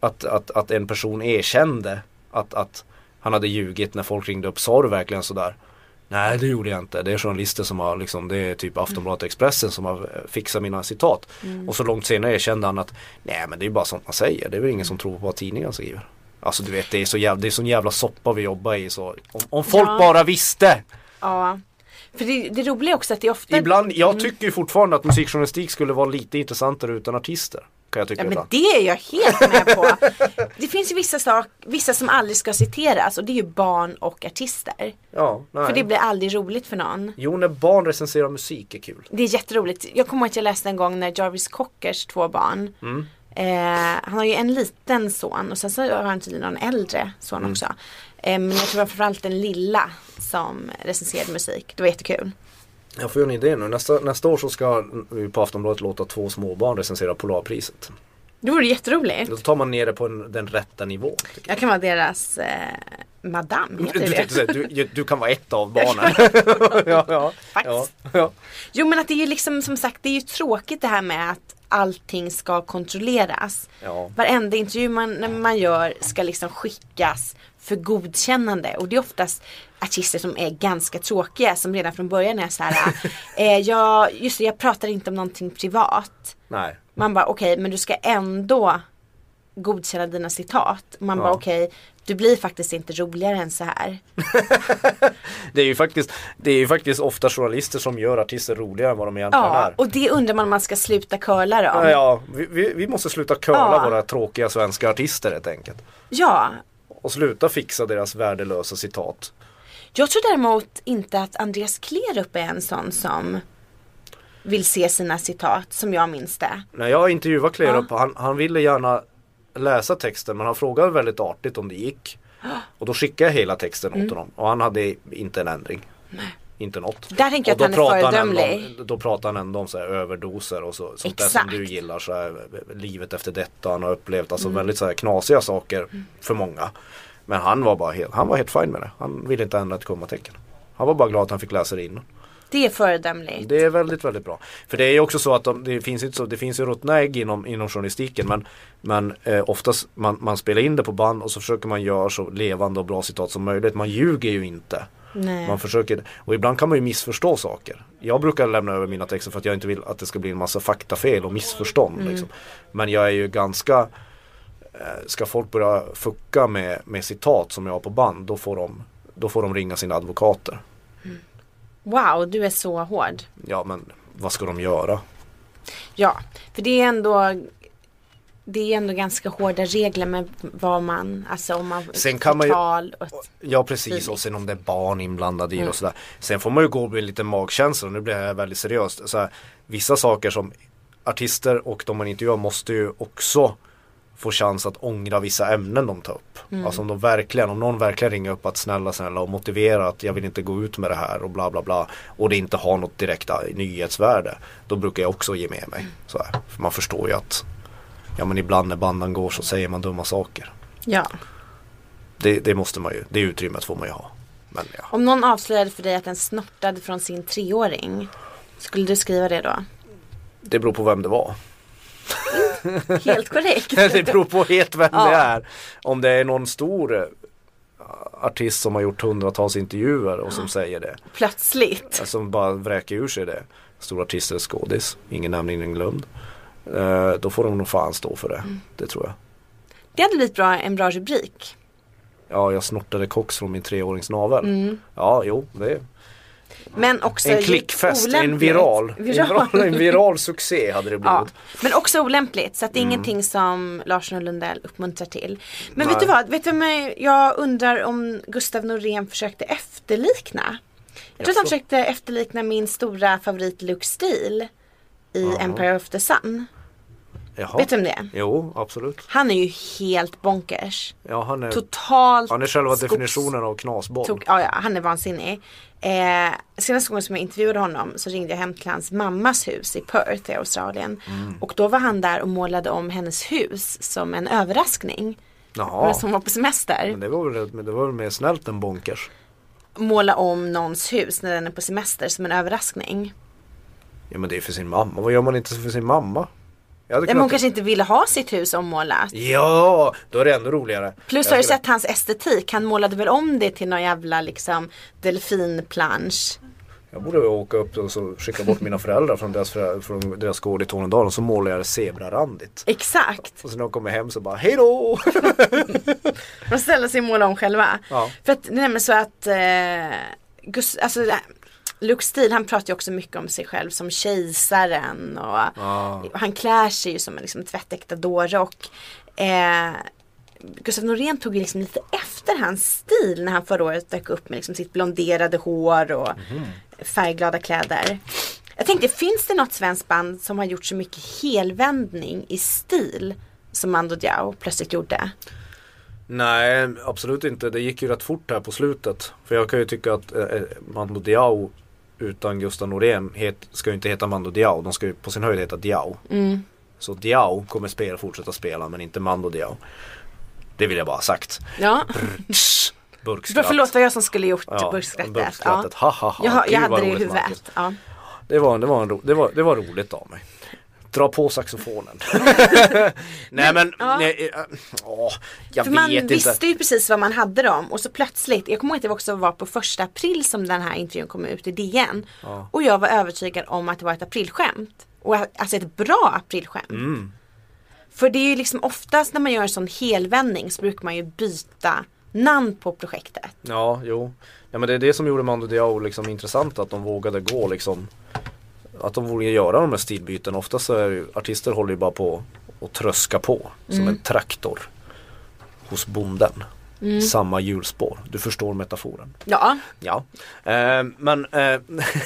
S3: att, att, att en person erkände att, att han hade ljugit när folk ringde upp. Sa du verkligen sådär? Nej det gjorde jag inte. Det är journalister som har liksom, det är typ Aftonbladet och Expressen som har eh, fixat mina citat.
S2: Mm.
S3: Och så långt senare erkände han att nej men det är ju bara sånt man säger. Det är väl ingen som tror på vad tidningen skriver. Alltså du vet det är så jävla, det är sån jävla soppa vi jobbar i så om, om folk
S2: Ja.
S3: bara visste!
S2: Ja. För det, det roliga är också att det är ofta...
S3: Ibland,
S2: Mm.
S3: jag tycker ju fortfarande att musikjournalistik skulle vara lite intressantare utan artister. Kan jag tycka
S2: Ja, men
S3: ibland.
S2: det är jag helt med
S3: (laughs)
S2: på. Det finns ju vissa, sak, vissa som aldrig ska citeras och det är ju barn och artister.
S3: Ja, nej.
S2: För det blir aldrig roligt för någon.
S3: Jo när barn recenserar musik är kul.
S2: Det är jätteroligt. Jag kommer ihåg att jag läste en gång när Jarvis Cockers två barn. Eh, han har ju en liten son och sen så har han tydligen någon äldre son också. Eh, men jag tror det var framförallt den lilla som recenserade musik. Det var jättekul.
S3: Jag får ju en idé nu, nästa, nästa år så ska vi på Aftonbladet låta två småbarn recensera Polarpriset.
S2: Det vore jätteroligt.
S3: Då tar man ner det på en, den rätta nivån. tycker
S2: Jag kan vara deras eh, madam,
S3: jag.
S2: heter
S3: Du,
S2: det
S3: tänkte säga, du, du kan vara ett av barnen.
S2: (laughs)
S3: ja, ja, ja,
S2: Faktiskt.
S3: ja.
S2: Jo men att det är ju liksom som sagt det är ju tråkigt det här med att allting ska kontrolleras.
S3: Ja.
S2: Varenda intervju man, man gör ska liksom skickas för godkännande och det är oftast artister som är ganska tråkiga som redan från början är så här. (laughs) eh, jag, just det, jag pratar inte om någonting privat.
S3: Nej.
S2: Man bara okej men du ska ändå godkänna dina citat. Man bara
S3: Ja.
S2: okej du blir faktiskt inte roligare än så här.
S3: Det är ju faktiskt, det är ju faktiskt ofta journalister som gör artister roligare än vad de egentligen
S2: Ja
S3: är.
S2: och det undrar man om man ska sluta curla dem.
S3: Ja, ja, vi, vi, vi måste sluta curla
S2: Ja.
S3: våra tråkiga svenska artister helt enkelt.
S2: ja
S3: Och sluta fixa deras värdelösa citat.
S2: Jag tror däremot inte att Andreas Klerup är en sån som vill se sina citat som jag minns det.
S3: När jag intervjuade Klerup, han, han ville gärna läsa texten men han frågade väldigt artigt om det gick. Och då skickade jag hela texten
S2: Mm.
S3: åt honom och han hade inte en ändring. Inte något.
S2: Där tänker jag
S3: Och då
S2: att han är
S3: pratar ändå
S2: föredömlig.
S3: om, Då pratar han ändå om så här överdoser och så, sånt där som
S2: Exakt. Mm.
S3: du gillar. Så här, livet efter detta han har upplevt. Alltså väldigt så här knasiga saker för många. Men han var bara helt, han var helt fin med det. Han ville inte ändra ett kommatecken. Han var bara glad att han fick läsa det innan.
S2: Det är föredömligt.
S3: Det är väldigt, väldigt bra. För det är ju också så att de, det finns ju inte så, det finns ju ruttna ägg inom, inom journalistiken men, men eh, oftast man, man spelar in det på band och så försöker man göra så levande och bra citat som möjligt. Man ljuger ju inte.
S2: Nej.
S3: Man försöker, och ibland kan man ju missförstå saker. Jag brukar lämna över mina texter för att jag inte vill att det ska bli en massa faktafel och missförstånd. Liksom. Men jag är ju ganska eh, Ska folk börja fucka med, med citat som jag har på band då får de, då får de ringa sina advokater.
S2: Wow, du är så hård.
S3: Ja men vad ska de göra?
S2: Ja, för det är ändå det är ändå ganska hårda regler med vad man, alltså om man
S3: Sen kan man ju-
S2: förtal och
S3: Ja precis och sen om det är barn inblandade i det och sådär. Sen får man ju gå med lite magkänsla, nu blir jag väldigt seriöst. Så här, vissa saker som artister och de man intervjuar måste ju också få chans att ångra vissa ämnen de tar upp. Alltså om de verkligen, om någon verkligen ringer upp att snälla snälla och motivera att jag vill inte gå ut med det här och bla bla bla och det inte har något direkt eh, nyhetsvärde. Då brukar jag också ge med mig. Så här. För man förstår ju att ja men ibland när bandan går så säger man dumma saker.
S2: ja.
S3: Det, det måste man ju, det utrymmet får man ju ha. Men ja.
S2: Om någon avslöjade för dig att den snortade från sin treåring, skulle du skriva det då?
S3: Det beror på vem det var. (laughs)
S2: Helt korrekt.
S3: det beror på helt vem
S2: Ja.
S3: det är. Om det är någon stor eh, artist som har gjort hundratals intervjuer och som säger det.
S2: Plötsligt.
S3: Som bara vräker ur sig det. Stora artister, skådis, ingen nämnd, ingen glömd. Eh, Då får de nog fan stå för det.
S2: Mm.
S3: Det tror jag.
S2: Det hade blivit bra, en bra rubrik. Mm.
S3: Ja, jag snortade koks från min treårings navel. Ja, jo, det
S2: Men också
S3: En
S2: djupt
S3: klickfest, en
S2: olämpligt.
S3: viral.
S2: (laughs)
S3: En, viral, en viral succé hade det
S2: Ja,
S3: blivit.
S2: men också olämpligt så att det är
S3: Mm.
S2: ingenting som Larsson och Lundell uppmuntrar till. Men vet
S3: Nej.
S2: du vad, vet du vad jag undrar om Gustav Norén försökte efterlikna. Jag tror att han
S3: Jaså?
S2: försökte efterlikna min stora favorit Luke Steele i
S3: Jaha.
S2: Empire of the Sun.
S3: Jaha.
S2: Vet du vem det är?
S3: Jo, absolut.
S2: Han är ju helt bonkers.
S3: Ja, han är,
S2: Totalt
S3: han är själva
S2: skogs-
S3: definitionen av knasboll.
S2: Tok, ja, ja, han är vansinnig. Eh, senaste gången som jag intervjuade honom så ringde jag hem till hans mammas hus i Perth i Australien.
S3: Mm.
S2: Och då var han där och målade om hennes hus som en överraskning.
S3: Jaha.
S2: Ja. Som var på
S3: Men
S2: semester.
S3: det var väl, men det var väl mer snällt än bonkers.
S2: Måla om någons hus när den är på semester som en överraskning.
S3: Ja men det är för sin mamma. Vad gör man inte för sin mamma? Jag hade
S2: Men hon
S3: kunnat...
S2: kanske inte ville ha sitt hus ommålat.
S3: Ja, då är det ännu roligare.
S2: Plus
S3: Jag
S2: har du
S3: skulle-
S2: sett hans estetik. Han målade väl om det till någon jävla liksom delfinplansch.
S3: Jag borde åka upp och så skicka bort mina föräldrar från deras, förä- från deras gård i Tornedalen och så målar jag det zebrarandigt.
S2: Exakt.
S3: Och sen när de kommer hem så bara hejdå!
S2: De ställer sig och målar om själva.
S3: Ja.
S2: För att det är nämligen så att eh, Gus, alltså, eh, Luke Steele han pratar ju också mycket om sig själv som kejsaren och
S3: Ja.
S2: och han klär sig ju som en liksom, tvättäkta dåre och eh, Gustav Norén tog ju liksom lite efter hans stil när han förra året dök upp med liksom sitt blonderade hår och färgglada kläder. Jag tänkte, finns det något svenskt band som har gjort så mycket helvändning i stil som Mando Diao plötsligt gjorde?
S3: Nej, absolut inte. Det gick ju rätt fort här på slutet. För jag kan ju tycka att eh, eh, Mando Diao utan Gustav Norén het, ska ju inte heta Mando Diao. De ska ju på sin höjd heta Diao.
S2: Mm.
S3: Så Diao kommer spela, fortsätta spela men inte Mando Diao. Det vill jag bara ha sagt.
S2: Ja,
S3: Tss,
S2: För,
S3: Burkskratt.
S2: förlåt vad jag som skulle gjort
S3: Ja,
S2: burkskrattet. Ja.
S3: burkskrattet. Ha, ha, ha.
S2: Jag, har-
S3: Gud,
S2: jag
S3: vad
S2: hade det i
S3: roligt, Marcus.
S2: huvudet. Ja.
S3: Det var, det, var en ro, det, var, det var roligt av mig. Dra
S2: (laughs)
S3: på saxofonen. nej men,
S2: ja.
S3: nej, eh, åh, jag
S2: För
S3: vet
S2: man
S3: inte.
S2: visste ju precis vad man hade dem och så plötsligt, jag kommer ihåg att det också var på första april som den här intervjun kom ut i DN. Och jag var övertygad om att det var ett aprilskämt. Och att- alltså ett bra aprilskämt.
S3: Mm.
S2: För det är ju liksom oftast när man gör en sån helvändning så brukar man ju byta namn på projektet.
S3: Ja, jo. Ja men det är det som gjorde Mando Diao liksom intressant att de vågade gå liksom. Att de vågade göra de här stilbyten. Ofta så är det ju, artister håller ju bara på och tröska på som en traktor hos bonden. Samma hjulspår. Du förstår metaforen.
S2: Ja,
S3: Ja, eh, men, eh,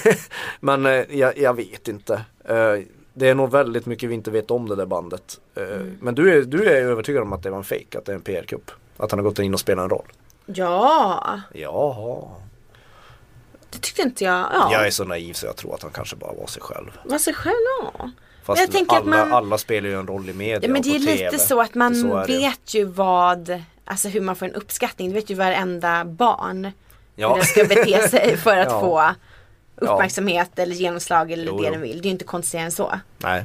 S3: (laughs) men eh, jag, jag vet inte. Eh, det är nog väldigt mycket vi inte vet om det där bandet. Eh, Men du är, du är övertygad om att det var en fejk, att det är en PR-kupp? Att han har gått in och spelat en roll?
S2: ja,
S3: Jaha.
S2: det tyckte inte jag. Ja,
S3: Jag är så naiv så jag tror att han kanske bara var sig själv.
S2: vad sig själv ja.
S3: Fast
S2: jag tänker att
S3: alla,
S2: man-
S3: alla spelar ju en roll i media
S2: Ja men
S3: och
S2: det är
S3: på TV.
S2: lite så att man
S3: Så är det ju.
S2: vet ju vad, alltså hur man får en uppskattning. Det vet ju varenda barn hur
S3: Ja.
S2: den ska bete sig för att
S3: Ja.
S2: få uppmärksamhet eller genomslag eller
S3: Jo,
S2: det
S3: jo.
S2: den vill. Det är ju inte konstigare än så.
S3: (laughs) Nej.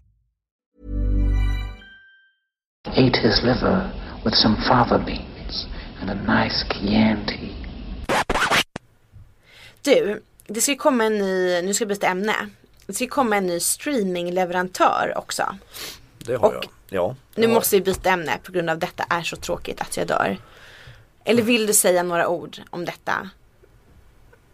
S4: ate his liver with some fava beans and a nice chianti.
S2: Du, det ska ju komma en ny, nu ska jag byta ämne. Det ska ju komma en ny streamingleverantör också.
S3: Det har
S2: Och-
S3: jag. Ja.
S2: Nu
S3: ja.
S2: måste vi byta ämne på grund av detta är så tråkigt att jag dör. Eller vill du säga några ord om detta?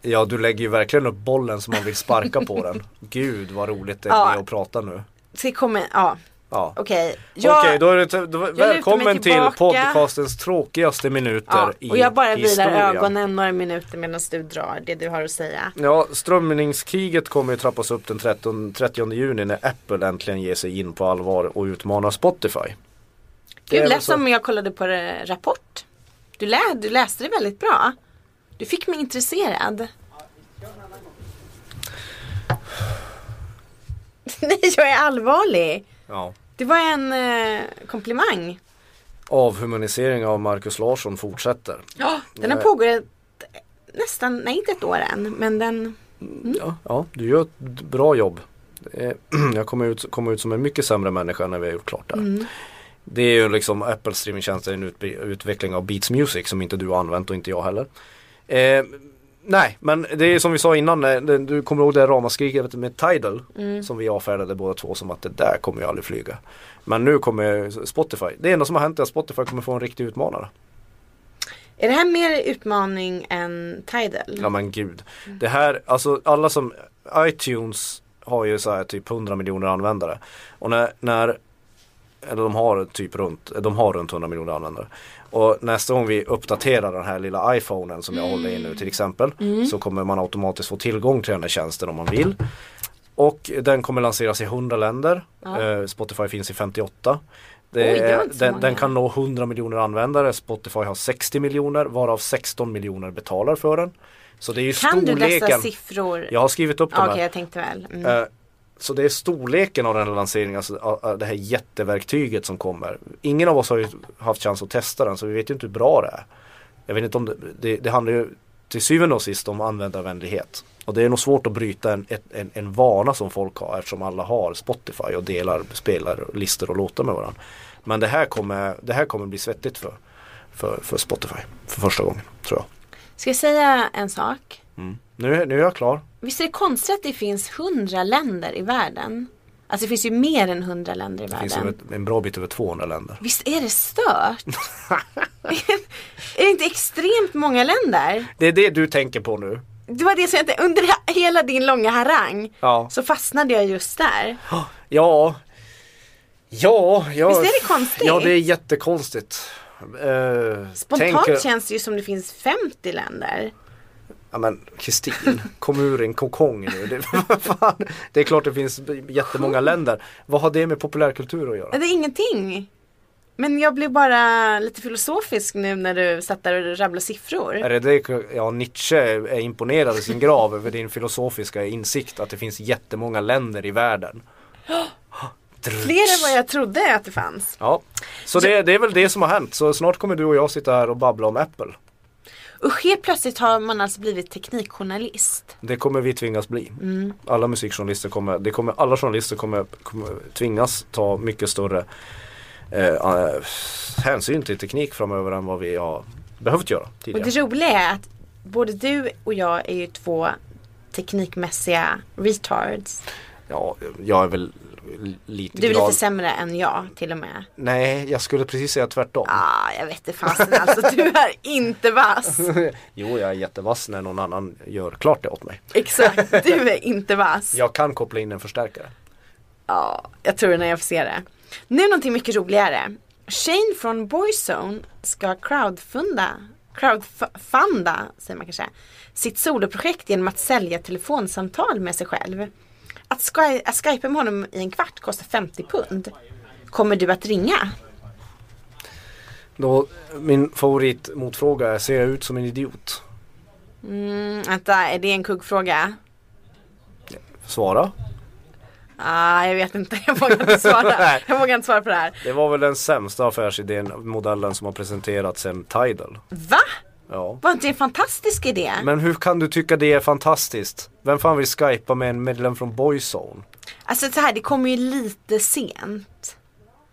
S3: ja du lägger ju verkligen upp bollen som man vill sparka
S2: (laughs)
S3: på den. Gud vad roligt det är
S2: Ja.
S3: att prata nu.
S2: Det ska komma, ja
S3: Ja.
S2: okej.
S3: Okej,
S2: Jag-
S3: då är det, då, välkommen till
S2: tillbaka.
S3: podcastens tråkigaste minuter
S2: Ja,
S3: i
S2: och jag bara
S3: historien.
S2: vilar ögonen några minuter medan du drar det du har att säga.
S3: Ja, strömningskriget kommer ju trappas upp den 30, 30 juni när Apple äntligen ger sig in på allvar och utmanar Spotify. är
S2: Gud,
S3: väl
S2: lät
S3: så-
S2: som jag kollade på eh, Rapport. Du, lä du läste det väldigt bra. Du fick mig intresserad. (laughs) Nej, jag är allvarlig.
S3: Ja.
S2: Det var en eh, komplimang.
S3: avhumanisering av Marcus Larsson fortsätter.
S2: Ja, den har
S3: Nej.
S2: pågått ett- nästan, nej inte ett år än, men den,
S3: Ja, ja, du gör ett bra jobb. Eh, (clears throat) Jag kommer ut, kommer ut som en mycket sämre människa när vi har gjort klart det här. Det är ju liksom Apple streamingtjänsten, en utbe- utveckling av Beats Music som inte du har använt och inte jag heller. Eh, nej, men det är som vi sa innan, eh, det- du kommer ihåg det här ramaskriket med Tidal som vi avfärdade båda två som att det där kommer ju aldrig flyga. Men nu kommer Spotify. Det enda som har hänt är att Spotify kommer få en riktig utmanare.
S2: är det här mer utmaning än Tidal?
S3: Ja men gud. Det här, alltså alla som, iTunes har ju så här typ 100 miljoner användare. Och när, när eller de har typ runt, de har runt 100 miljoner användare. Och nästa gång vi uppdaterar den här lilla iPhonen som jag
S2: Mm.
S3: håller i nu till exempel. Så kommer man automatiskt få tillgång till den här tjänsten om man vill. Och den kommer lanseras i 100 länder. Eh, Spotify finns i 58. Det
S2: Oj, det var
S3: är,
S2: inte så
S3: den,
S2: många.
S3: den kan nå 100 miljoner användare. Spotify har 60 miljoner varav 16 miljoner betalar för den. Så det är ju
S2: Kan du
S3: storleken.
S2: dessa siffror?
S3: Jag har skrivit upp dem
S2: Ja, Okej,
S3: här.
S2: jag tänkte väl. Mm.
S3: Eh, Så det är storleken av den här lanseringen, alltså a- a- det här jätteverktyget som kommer. Ingen av oss har ju haft chans att testa den så vi vet ju inte hur bra det är. Jag vet inte om det, det, det handlar ju till syvende och sist om användarvänlighet. Och det är nog svårt att bryta en, ett- en, en vana som folk har eftersom alla har Spotify och delar spelar listor och låtar med varandra. Men det här kommer, det här kommer bli svettigt för, för, för Spotify för första gången tror jag.
S2: Ska jag säga en sak?
S3: Nu, är- nu är jag klar.
S2: Visst är det konstigt att det finns hundra länder i världen? Alltså det finns ju mer än hundra länder i
S3: Det finns
S2: världen.
S3: över, en bra bit över 200 länder.
S2: Visst är det
S3: (laughs)
S2: stört? är det inte extremt många länder?
S3: Det är det du tänker på nu.
S2: Det var det som jag inte, under he- hela din långa harang
S3: Ja.
S2: så fastnade jag just där.
S3: Ja. Ja, ja.
S2: Visst är det konstigt?
S3: Ja, det är jättekonstigt. Eh,
S2: Spontant
S3: tänk-
S2: känns det ju som det finns 50 länder.
S3: Ja men Kristin, kom ur en kokong nu. Det, (laughs) vad fan? det är klart det finns jättemånga länder. Vad har det med populärkultur att göra?
S2: Nej, Det är ingenting. Men jag blev bara lite filosofisk nu när du satt där och rabblade
S3: Är
S2: siffror.
S3: det det, ja, Nietzsche är imponerad i sin grav över din filosofiska insikt att det finns jättemånga länder i världen.
S2: Fler än vad jag trodde att det fanns.
S3: Ja, så det, det är väl det som har hänt. Så snart kommer du och jag sitta här och babbla om Apple.
S2: Usch, helt plötsligt har man alltså blivit teknikjournalist.
S3: Det kommer vi tvingas bli.
S2: Mm.
S3: Alla musikjournalister kommer, det kommer, alla journalister kommer, kommer tvingas ta mycket större eh, eh, hänsyn till teknik framöver än vad vi har behövt göra
S2: Och
S3: tidigare.
S2: det roliga är att både du och jag är ju två teknikmässiga retards.
S3: Ja, jag är väl lite
S2: Du är
S3: glad.
S2: lite sämre än jag till och med.
S3: Nej, jag skulle precis säga tvärtom.
S2: Ah, jag vet det fasen alltså, du är inte vass.
S3: (laughs) Jo, jag är jättevass när någon annan gör klart det åt mig.
S2: Exakt, du är inte vass. Ja,
S3: Jag kan koppla in en förstärkare.
S2: jag tror det när jag får se det. Nu någonting mycket roligare. Shane från Boyzone ska crowdfunda, crowdfunda säger man kanske, sitt soloprojekt genom att sälja telefonsamtal med sig själv. Att, sky- att skypa med honom i en kvart kostar 50 pund. Kommer du att ringa?
S3: Då, min favoritmotfråga är, ser jag ut som en idiot?
S2: Mm, Vänta, är det en kuggfråga?
S3: Svara.
S2: Ah, jag vet inte, (laughs) jag vågar inte svara.
S3: Nej.
S2: Jag vågar inte svara på det här.
S3: Det var väl den sämsta affärsidén, modellen som har presenterats sen Tidal.
S2: Va?
S3: Ja.
S2: Var inte det en fantastisk idé?
S3: Men hur kan du tycka det är fantastiskt? Vem fan vill skypa med en medlem från Boyzone?
S2: Alltså så här, det kommer ju lite sent.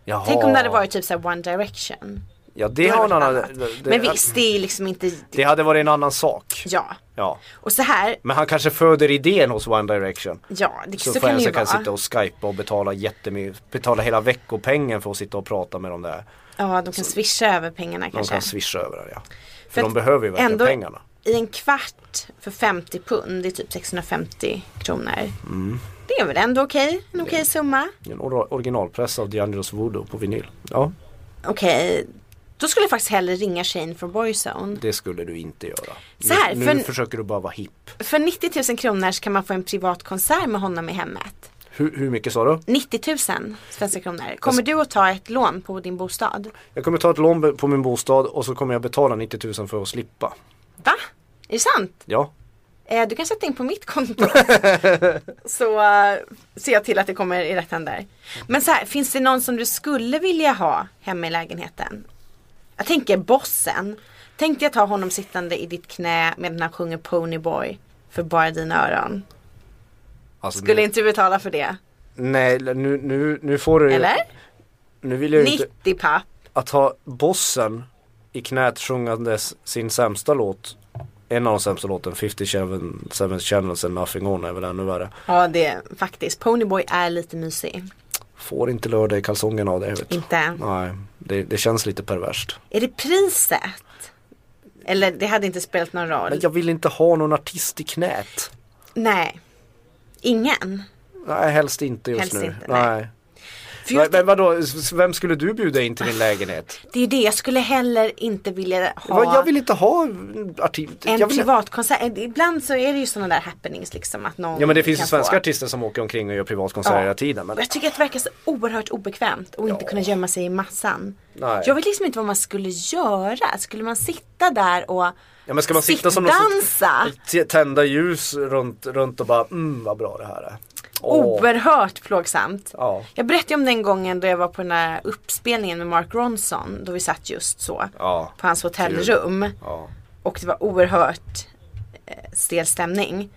S3: Jaha.
S2: Tänk om det hade varit typ så här One Direction.
S3: Ja det
S2: Då
S3: har en
S2: hade det
S3: annan...
S2: varit annat.
S3: det-
S2: Men visst, det är liksom inte...
S3: Det hade varit en annan sak.
S2: Ja.
S3: Ja.
S2: Och så här,
S3: Men han kanske föder idén hos One Direction.
S2: ja, det, så,
S3: Så,
S2: kan det ju
S3: fansen
S2: vara.
S3: kan sitta och skypa och betala jättemycket, betala hela veckopengen för att sitta och prata med dem där.
S2: Ja, de kan swisha över pengarna
S3: De
S2: kanske.
S3: kan swisha över det ja. För,
S2: För
S3: de
S2: att
S3: behöver ju verkligen
S2: ändå-
S3: pengarna.
S2: I en kvart för 50 pund, det är typ 650 kronor.
S3: Mm.
S2: Det är väl ändå okej, en okej summa.
S3: En or- originalpress av D'Angelos Voodoo på vinyl. Ja,
S2: Okej, då skulle jag faktiskt hellre ringa Shane från Boyzone.
S3: det skulle du inte göra.
S2: Så här,
S3: nu,
S2: för-
S3: nu försöker du bara vara hipp.
S2: För 90 000 kronor så kan man få en privat konsert med honom i hemmet.
S3: Hur, hur mycket sa du?
S2: 90 000 svenska kronor. Kommer du att ta ett lån på din bostad?
S3: Jag kommer ta ett lån på min bostad och så kommer jag betala 90 000 för att slippa.
S2: Va? Är det sant?
S3: Ja,
S2: Eh, du kan sätta in på mitt konto. så eh, ser jag till att det kommer i rätt händer. Men så här, finns det någon som du skulle vilja ha hemma i lägenheten? Jag tänker bossen. Tänk dig att ha honom sittande i ditt knä medan han sjunger Ponyboy för bara dina öron.
S3: Alltså,
S2: Skulle
S3: nu,
S2: inte du betala för det?
S3: Nej, nu, nu, nu får du
S2: Eller?
S3: Nu vill jag ju inte
S2: 90 papp.
S3: att ha bossen i knät sjungandes sin sämsta låt en av de sämsta låten, 57 Seven Channels and Nothing On är väl ännu värre.
S2: Ja det är faktiskt. Ponyboy är lite mysig.
S3: Får inte lördag i kalsongerna av det. Vet du.
S2: Inte.
S3: Nej, det, det känns lite perverst.
S2: Är det priset? Eller det hade inte spelat någon roll.
S3: Men jag vill inte ha någon artist i knät.
S2: Nej. Ingen.
S3: Nej, helst inte just
S2: Helst
S3: nu.
S2: inte, nej.
S3: nej.
S2: För jag,
S3: Men vadå, s- vem skulle du bjuda in till din lägenhet?
S2: det är ju det, jag skulle heller inte vilja ha
S3: Vad, Jag vill inte ha artist.
S2: en
S3: jag vill...
S2: privatkonsert. Eh, Ibland så är det ju sådana där happenings liksom att någon
S3: Ja men det finns ju
S2: kan
S3: svenska
S2: få.
S3: artister som åker omkring och gör privatkonserter
S2: Ja.
S3: hela tiden. Men
S2: Och Jag tycker att det verkar så oerhört obekvämt att inte kunna gömma sig i massan.
S3: Nej.
S2: Jag vet liksom inte vad man skulle göra. Skulle man sitta där och
S3: Ja men ska man sitta som någon
S2: Sittdansa?
S3: t- tända ljus runt, runt och bara mm vad bra det här är.
S2: Oh,
S3: Åh.
S2: Oerhört plågsamt.
S3: Ja.
S2: Jag berättade ju om den gången då jag var på den här uppspelningen med Mark Ronson. Då vi satt just så.
S3: Ja.
S2: På hans hotellrum.
S3: Ja.
S2: Och det var oerhört eh, stel stämning.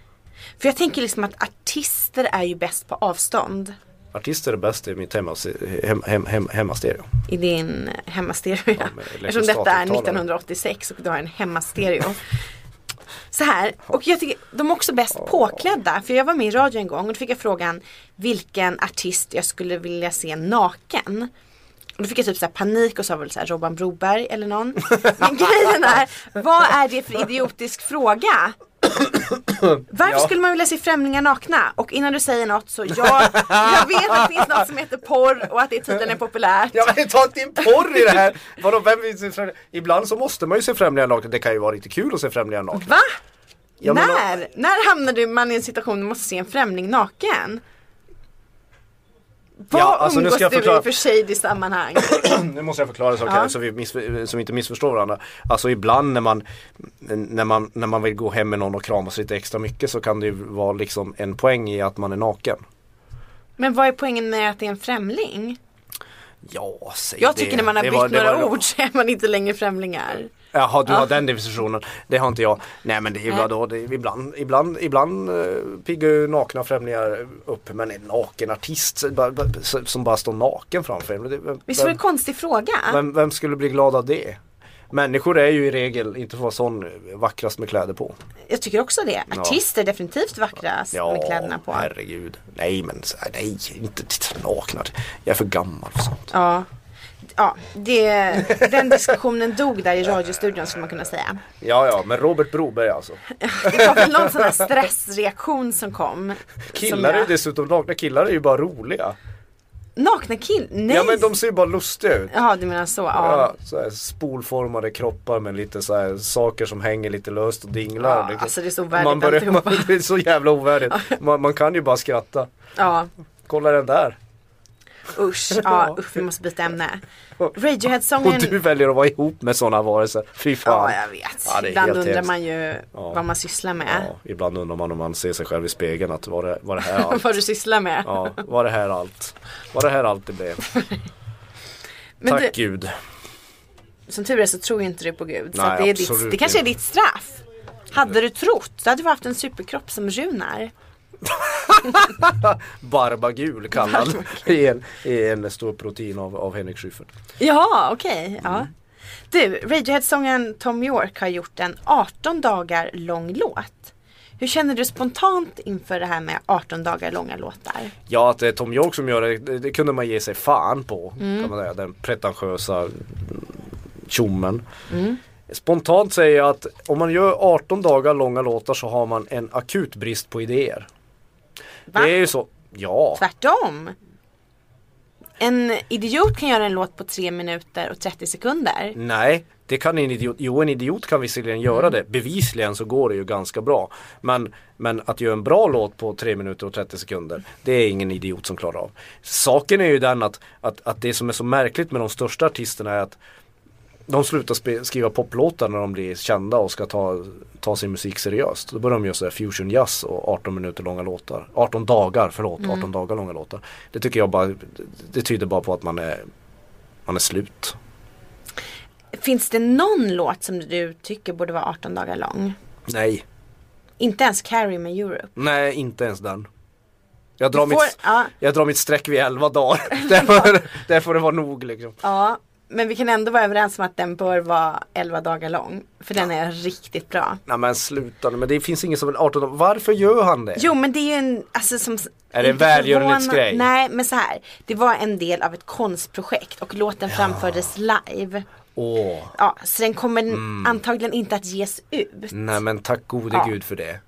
S2: För jag tänker liksom att artister är ju bäst på avstånd.
S3: Artister är bäst i mitt hemma, hem, hem, hem, hemmastereo.
S2: I din hemmastereo. Ja,
S3: med elektrisk
S2: Eftersom detta är
S3: datortalare.
S2: 1986 och du har en hemmastereo. Så här, och jag tycker de är också bäst påklädda. För jag var med i radio en gång och då fick jag frågan vilken artist jag skulle vilja se naken. Och då fick jag typ så här panik och sa väl så här Robban Broberg eller någon. Men grejen är, vad är det för idiotisk fråga? Varför skulle man vilja se främlingar nakna? Och innan du säger något så jag, jag vet att det finns något som heter porr och att det tydligen är populärt.
S3: Ja men ta inte in porr i det här! Vadå vem vill se främlingar? Ibland så måste man ju se främlingar nakna, det kan ju vara riktigt kul att se främlingar nakna.
S2: Va?
S3: Jag
S2: när?
S3: menar-
S2: När hamnade man i en situation där man måste se en främling naken? Vad
S3: alltså, nu
S2: umgås
S3: ska jag
S2: du i
S3: förklara.
S2: för sig i sammanhang?
S3: Nu måste jag förklara saker
S2: Ja.
S3: här så vi, miss- så vi inte missförstår varandra. Alltså ibland när man, när, man, när man vill gå hem med någon och kramas lite extra mycket så kan det ju vara liksom en poäng i att man är naken.
S2: Men vad är poängen med att det är en främling?
S3: Ja, säg
S2: Jag
S3: det.
S2: tycker när man har
S3: Det
S2: bytt
S3: var- det
S2: några
S3: var-
S2: ord så är man inte längre främlingar.
S3: Jaha, du har den definitionen. Det har inte jag. Nej men det är ju vadå, det är, ibland, ibland, ibland eh, piggar ju nakna främlingar upp. Men en naken artist så- bara- bara- så- som bara står naken framför en. Det- vem-
S2: Visst var det
S3: vem-
S2: en konstig fråga?
S3: Vem, vem skulle bli glad av det? Människor är ju i regel inte för att vara sån vackrast med kläder på.
S2: Jag tycker också det. Artister är definitivt vackrast med kläderna på.
S3: herregud. Nej men så- nej, inte titta nakna. Jag är för gammal för sånt.
S2: Ja. Ja, det, den diskussionen dog där i radiostudion skulle man kunna säga.
S3: Ja ja, men Robert Broberg alltså.
S2: Det var väl någon sån här stressreaktion som kom. som
S3: Killar är ju
S2: jag-
S3: dessutom, nakna killar är ju bara roliga.
S2: Nakna killar? Nej!
S3: Ja men de ser ju bara lustiga ut.
S2: Jaha, du menar så. Ja.
S3: Ja, så här spolformade kroppar med lite så här saker som hänger lite löst och dinglar.
S2: Ja,
S3: liksom.
S2: alltså det är så ovärdigt
S3: man börjar, man,
S2: alltihopa.
S3: (laughs) Det är så jävla ovärdigt. Man, man kan ju bara skratta.
S2: ja.
S3: Kolla den där.
S2: Usch, ja, usch, vi måste byta ämne.
S3: Och
S2: Radiohead-sången.
S3: du väljer att vara ihop med sådana varelser. Fy fan.
S2: Ja, jag vet.
S3: Ja, det är
S2: Ibland
S3: helt
S2: undrar
S3: hemskt.
S2: man ju vad man sysslar med.
S3: Ja, ibland undrar man om man ser sig själv i spegeln att var det, var
S2: (laughs)
S3: det här allt?
S2: Vad du sysslar med.
S3: Ja, var det här allt? Var det här allt det blev?
S2: Men
S3: Tack
S2: du,
S3: gud.
S2: som tur är så tror ju inte du på Gud. Så
S3: Nej,
S2: att det, är ditt,
S3: absolut
S2: det kanske är
S3: inte.
S2: ditt straff. Hade du trott, då hade du haft en superkropp som Runar.
S3: Barbagul kallad i en, i en stor protein av, av Henrik Schyffert.
S2: Ja, okej.
S3: Mm.
S2: Ja. Du, Radiohead-sångaren Tom York har gjort en 18 dagar lång låt. Hur känner du spontant inför det här med 18 dagar långa låtar?
S3: Ja, att det är Tom York som gör det, det, det kunde man ge sig fan på.
S2: Mm.
S3: Kan man säga, den pretentiösa mm, tjommen.
S2: Mm.
S3: Spontant säger jag att om man gör 18 dagar långa låtar så har man en akut brist på idéer.
S2: Va?
S3: Det är ju så. Ja.
S2: Tvärtom. En idiot kan göra en låt på 3 minuter och 30 sekunder.
S3: Nej, det kan en idiot. Jo, en idiot kan visserligen göra det. Bevisligen så går det ju ganska bra. Men, men att göra en bra låt på 3 minuter och 30 sekunder, det är ingen idiot som klarar av. Saken är ju den att, att, att det som är så märkligt med de största artisterna är att de slutar spe- skriva poplåtar när de blir kända och ska ta, ta sin musik seriöst. Då börjar de göra sådär fusion jazz och 18 minuter långa låtar. 18 dagar, förlåt, 18 dagar långa låtar. Det tycker jag bara, det tyder bara på att man är, man är slut.
S2: Finns det någon låt som du tycker borde vara 18 dagar lång?
S3: Nej,
S2: Inte ens Carrie med Europe.
S3: nej inte ens den. Jag drar,
S2: Du får-
S3: mitt,
S2: ja.
S3: jag drar mitt streck vid
S2: (laughs)
S3: 11 dagar. där, får, där får det vara nog liksom.
S2: Ja, men vi kan ändå vara överens om att den bör vara 11 dagar lång. För den är riktigt bra.
S3: Nej men sluta nu, men det finns ingen som vill 18 dagar. Varför gör han det?
S2: Jo men det är ju en, alltså som
S3: Är det en
S2: inte
S3: välgörenhetsgrej?
S2: förvåna- Nej men så här. Det var en del av ett konstprojekt och låten framfördes live.
S3: Åh,
S2: Ja, så den kommer
S3: Mm.
S2: antagligen inte att ges ut.
S3: nej men tack gode
S2: Ja.
S3: gud för det.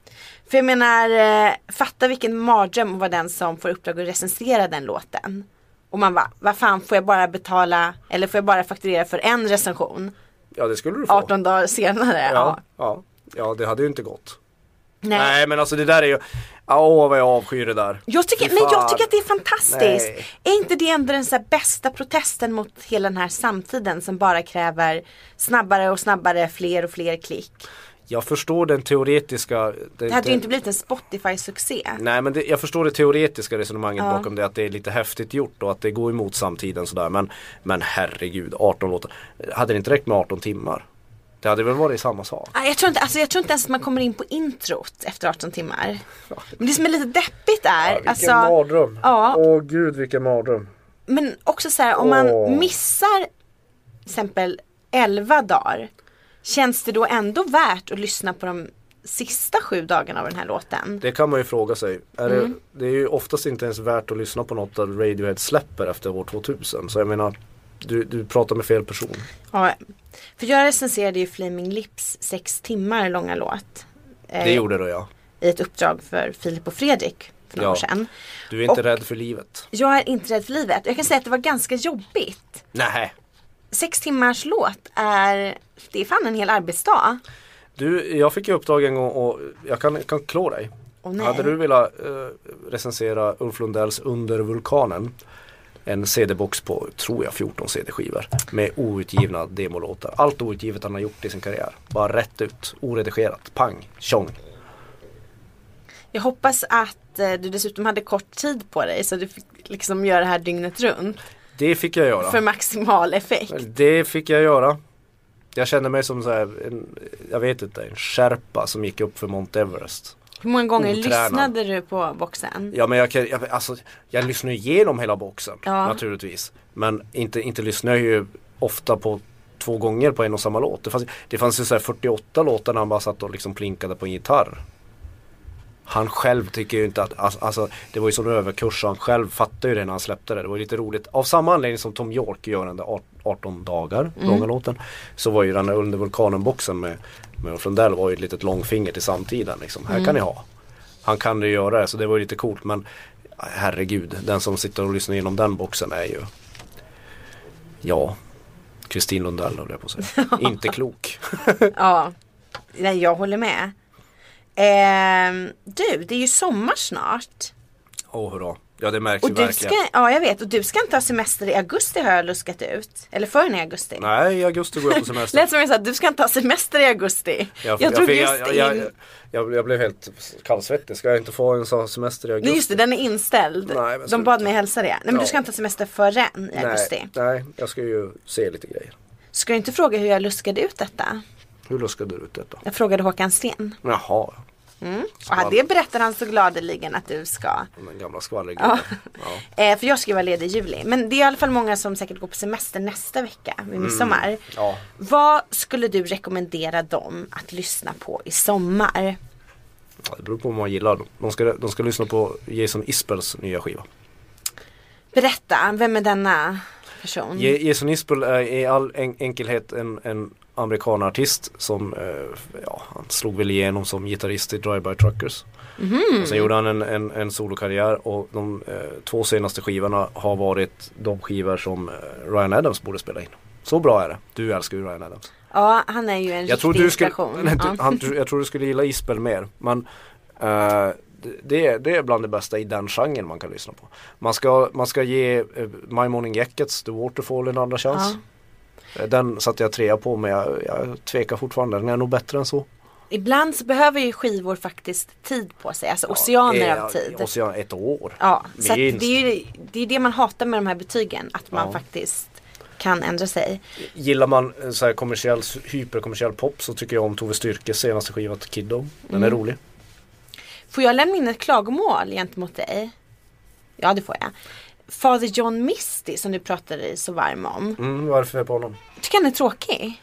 S2: För jag menar, eh, fatta vilken mardröm att vara den som får uppdrag att recensera den låten. Och man bara, vad fan får jag bara betala, eller får jag bara fakturera för en recension?
S3: Ja det skulle du få.
S2: 18 dagar senare. Ja.
S3: ja, ja. ja, det hade ju inte gått.
S2: Nej.
S3: Nej men alltså det där är ju, Ja, åh vad jag avskyr det där.
S2: Jag tycker,
S3: Fy
S2: men jag
S3: fan.
S2: tycker att det är fantastiskt.
S3: Nej.
S2: Är inte det ändå den så här bästa protesten mot hela den här samtiden som bara kräver snabbare och snabbare, fler och fler klick.
S3: Jag förstår den teoretiska
S2: Det hade ju inte blivit en Spotify-succé.
S3: Nej men det, jag förstår det teoretiska resonemanget bakom det att det är lite häftigt gjort och att det går emot samtiden sådär men Men herregud 18 låtar Hade det inte räckt med 18 timmar? Det hade väl varit samma sak?
S2: Nej, Jag tror, inte, alltså jag tror inte ens att man kommer in på introt efter 18 timmar.
S3: (laughs)
S2: Men det som är lite deppigt är, alltså, Ja.
S3: Åh gud vilken mardröm
S2: men också så här om man
S3: Åh.
S2: missar till exempel 11 dagar. Känns det då ändå värt att lyssna på de sista sju dagarna av den här låten?
S3: Det kan man ju fråga sig är
S2: Mm.
S3: det, det är ju oftast inte ens värt att lyssna på något där Radiohead släpper efter år 2000 så jag menar du, du pratar med fel person
S2: Ja, för jag recenserade ju Flaming Lips sex timmar långa låt. eh,
S3: Det gjorde du ja
S2: I ett uppdrag för Filip och Fredrik för några
S3: Ja.
S2: år sedan.
S3: Du är inte
S2: Och-
S3: rädd för livet
S2: Jag är inte rädd för livet. Jag kan säga att det var ganska jobbigt.
S3: Nej.
S2: Sex timmars låt är, det är fan en hel arbetsdag.
S3: Du, jag fick ju uppdrag en gång och jag kan, kan klå dig
S2: Åh, nej.
S3: Hade du velat eh, recensera Ulf Lundells Under vulkanen en CD-box på, tror jag, 14 CD-skivor med outgivna demolåtar. Allt outgivet han har gjort i sin karriär. Bara rätt ut, oredigerat, pang, tjong.
S2: Jag hoppas att eh, du dessutom hade kort tid på dig så du fick liksom göra det här dygnet runt.
S3: Det fick jag göra.
S2: För maximal effekt.
S3: Det fick jag göra. Jag kände mig som så här, en, jag vet inte, en sherpa som gick upp för Mount Everest.
S2: Hur många gånger
S3: Otränad.
S2: lyssnade du på boxen?
S3: Ja men jag kan, jag, alltså, jag lyssnar ju igenom hela boxen
S2: Ja.
S3: naturligtvis. Men inte, inte lyssnar jag ju ofta på två gånger på en och samma låt. Det fanns, det fanns ju så här 48 låtar när han bara satt och liksom plinkade på en gitarr. Han själv tycker ju inte att, alltså, alltså det var ju sån överkurs så han själv fattade ju det när han släppte det. Det var ju lite roligt. Av samma anledning som Tom York gör den där art- 18 dagar långa låten. Så var ju den där under vulkanen-boxen med, med Ulf Lundell var ju ett litet långfinger till samtiden liksom. Här kan ni ha. Han kan ju göra det så det var ju lite coolt men herregud, den som sitter och lyssnar igenom den boxen är ju ja, Kristin Lundell höll jag på att
S2: (laughs)
S3: säga. Inte klok.
S2: Ja, nej jag håller med. Ehm, du, det är ju sommar snart.
S3: Åh hurra. Ja det märks
S2: Och
S3: ju
S2: du
S3: verkligen.
S2: ska, ja jag vet, och du ska inte ha semester i augusti har jag luskat ut. Eller förrän i augusti.
S3: Nej, i augusti går jag på semester.
S2: Lät som jag sa, du ska inte ha semester i augusti. Jag, drog
S3: fick-
S2: just
S3: jag, jag,
S2: in,
S3: jag, jag, jag blev helt kallsvettig. Ska jag inte få en sån semester i augusti?
S2: nej just det, den är inställd.
S3: Nej, men
S2: De
S3: sluta.
S2: bad mig hälsa det. Nej men
S3: Ja.
S2: du ska inte ha semester förrän i augusti.
S3: Nej, nej, jag ska ju se lite grejer.
S2: Ska du inte fråga hur jag luskade ut detta?
S3: Hur luskade du ut detta?
S2: Jag frågade Håkan Sten.
S3: Jaha,
S2: Och han- det berättar han så gladeligen att du ska.
S3: den gamla skvallergubben. Ja.
S2: Eh, för jag ska ju vara ledig i juli. Men det är i alla fall många som säkert går på semester nästa vecka vid midsommar.
S3: Mm. ja.
S2: Vad skulle du rekommendera dem att lyssna på i sommar?
S3: Ja, det beror på vad man gillar. De ska, de ska lyssna på Jason Isbells nya skiva.
S2: Berätta, vem är denna person?
S3: Je- Jason Isbell är i all en- enkelhet en, en amerikanartist som eh, ja, han slog väl igenom som gitarrist i Drive-By Truckers. Och sen gjorde han en, en, en solokarriär och de eh, två senaste skivorna har varit de skivor som eh, Ryan Adams borde spela in. Så bra är det. Du älskar ju Ryan Adams.
S2: Ja, han är ju en
S3: Jag tror,
S2: riktig
S3: du skulle,
S2: inspiration.
S3: (laughs) nej,
S2: ja.
S3: du, han, du- jag tror du skulle gilla Isbell mer. Men eh, det, är- det är bland det bästa i den genren man kan lyssna på. Man ska, man ska ge eh, My Morning Jackets The Waterfall en andra chans. Eh, Den satte jag trea på men jag, jag tvekar fortfarande. Den är nog bättre än så.
S2: Ibland så behöver ju skivor faktiskt tid på sig, alltså oceaner
S3: Eh,
S2: av tid.
S3: Ocean, ett år.
S2: Ja, så att
S3: Minst.
S2: det är ju det, är ju det man hatar med de här betygen, att man
S3: Ja.
S2: faktiskt kan ändra sig.
S3: Gillar man eh, så här kommersiell, hyperkommersiell pop så tycker jag om Tove Styrkes senaste skiva Kiddo. Den
S2: Mm.
S3: är rolig.
S2: Får jag lämna in ett klagomål gentemot dig? Ja, det får jag. Father John Misty som du pratade dig så varm om.
S3: Mm, vad är det för fel på honom?
S2: Tycker han är tråkig?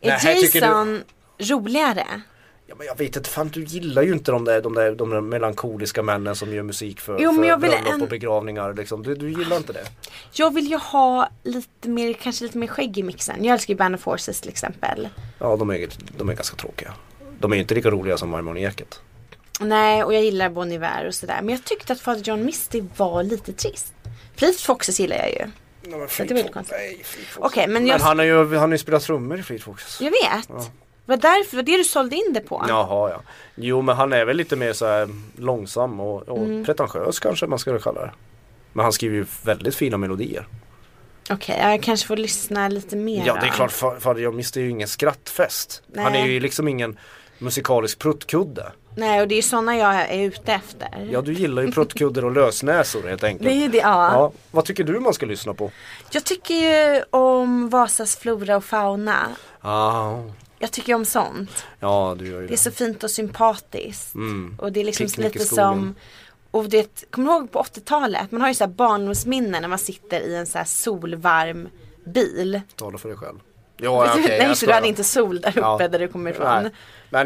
S2: Är
S3: Nej, jag tycker du-
S2: Jason roligare?
S3: Ja, men jag vet inte, fan du gillar ju inte de där, de där, de där melankoliska männen som gör musik för,
S2: Jo, men
S3: för
S2: jag vill
S3: bröllop
S2: en-
S3: och begravningar liksom. Du, du gillar inte det.
S2: Jag vill ju ha lite mer, kanske lite mer skägg i mixen. Jag älskar ju Band of Horses till exempel.
S3: Ja, de är, de är ganska tråkiga. De är ju inte lika roliga som Harmonieket.
S2: Nej, och jag gillar Bon Iver och sådär. Men jag tyckte att Father John Misty var lite trist. Fleet Foxes gillar jag ju.
S3: Okej,
S2: det var lite konstigt. Okej, men
S3: men
S2: jag,
S3: han har ju, han har ju spelat trummor i Fleet Foxes.
S2: jag vet. Det var därför, det var det du sålde in det på.
S3: Jaha ja. Jo men han är väl lite mer så här långsam och, och
S2: Mm.
S3: pretentiös kanske man skulle kalla det. Men han skriver ju väldigt fina melodier.
S2: Okej, jag kanske får lyssna lite mer
S3: Ja det är
S2: då.
S3: klart, fa- Fader jag mister ju ingen skrattfest.
S2: Nej.
S3: Han är ju liksom ingen musikalisk pruttkudde.
S2: Nej, och det är ju sådana jag är ute efter.
S3: Ja du gillar ju pruttkuddar och lösnäsor helt enkelt.
S2: Det är ju det, ja.
S3: Ja, vad tycker du man ska lyssna på?
S2: Jag tycker ju om Vasas flora och fauna.
S3: Ah,
S2: Jag tycker ju om sånt.
S3: ja du gör
S2: Det är
S3: ju det. Mm.
S2: så fint och sympatiskt. Och det är liksom
S3: Picknick i
S2: lite
S3: skogen.
S2: som och det, kommer du ihåg på 80-talet? Man har ju så här barndomsminnen när man sitter i en så här solvarm bil.
S3: Tala för dig själv. Ja,
S2: (laughs)
S3: okej,
S2: Nej,
S3: jag
S2: så du hade
S3: skojar.
S2: inte sol där uppe där du kommer ifrån.
S3: Nej. Mm.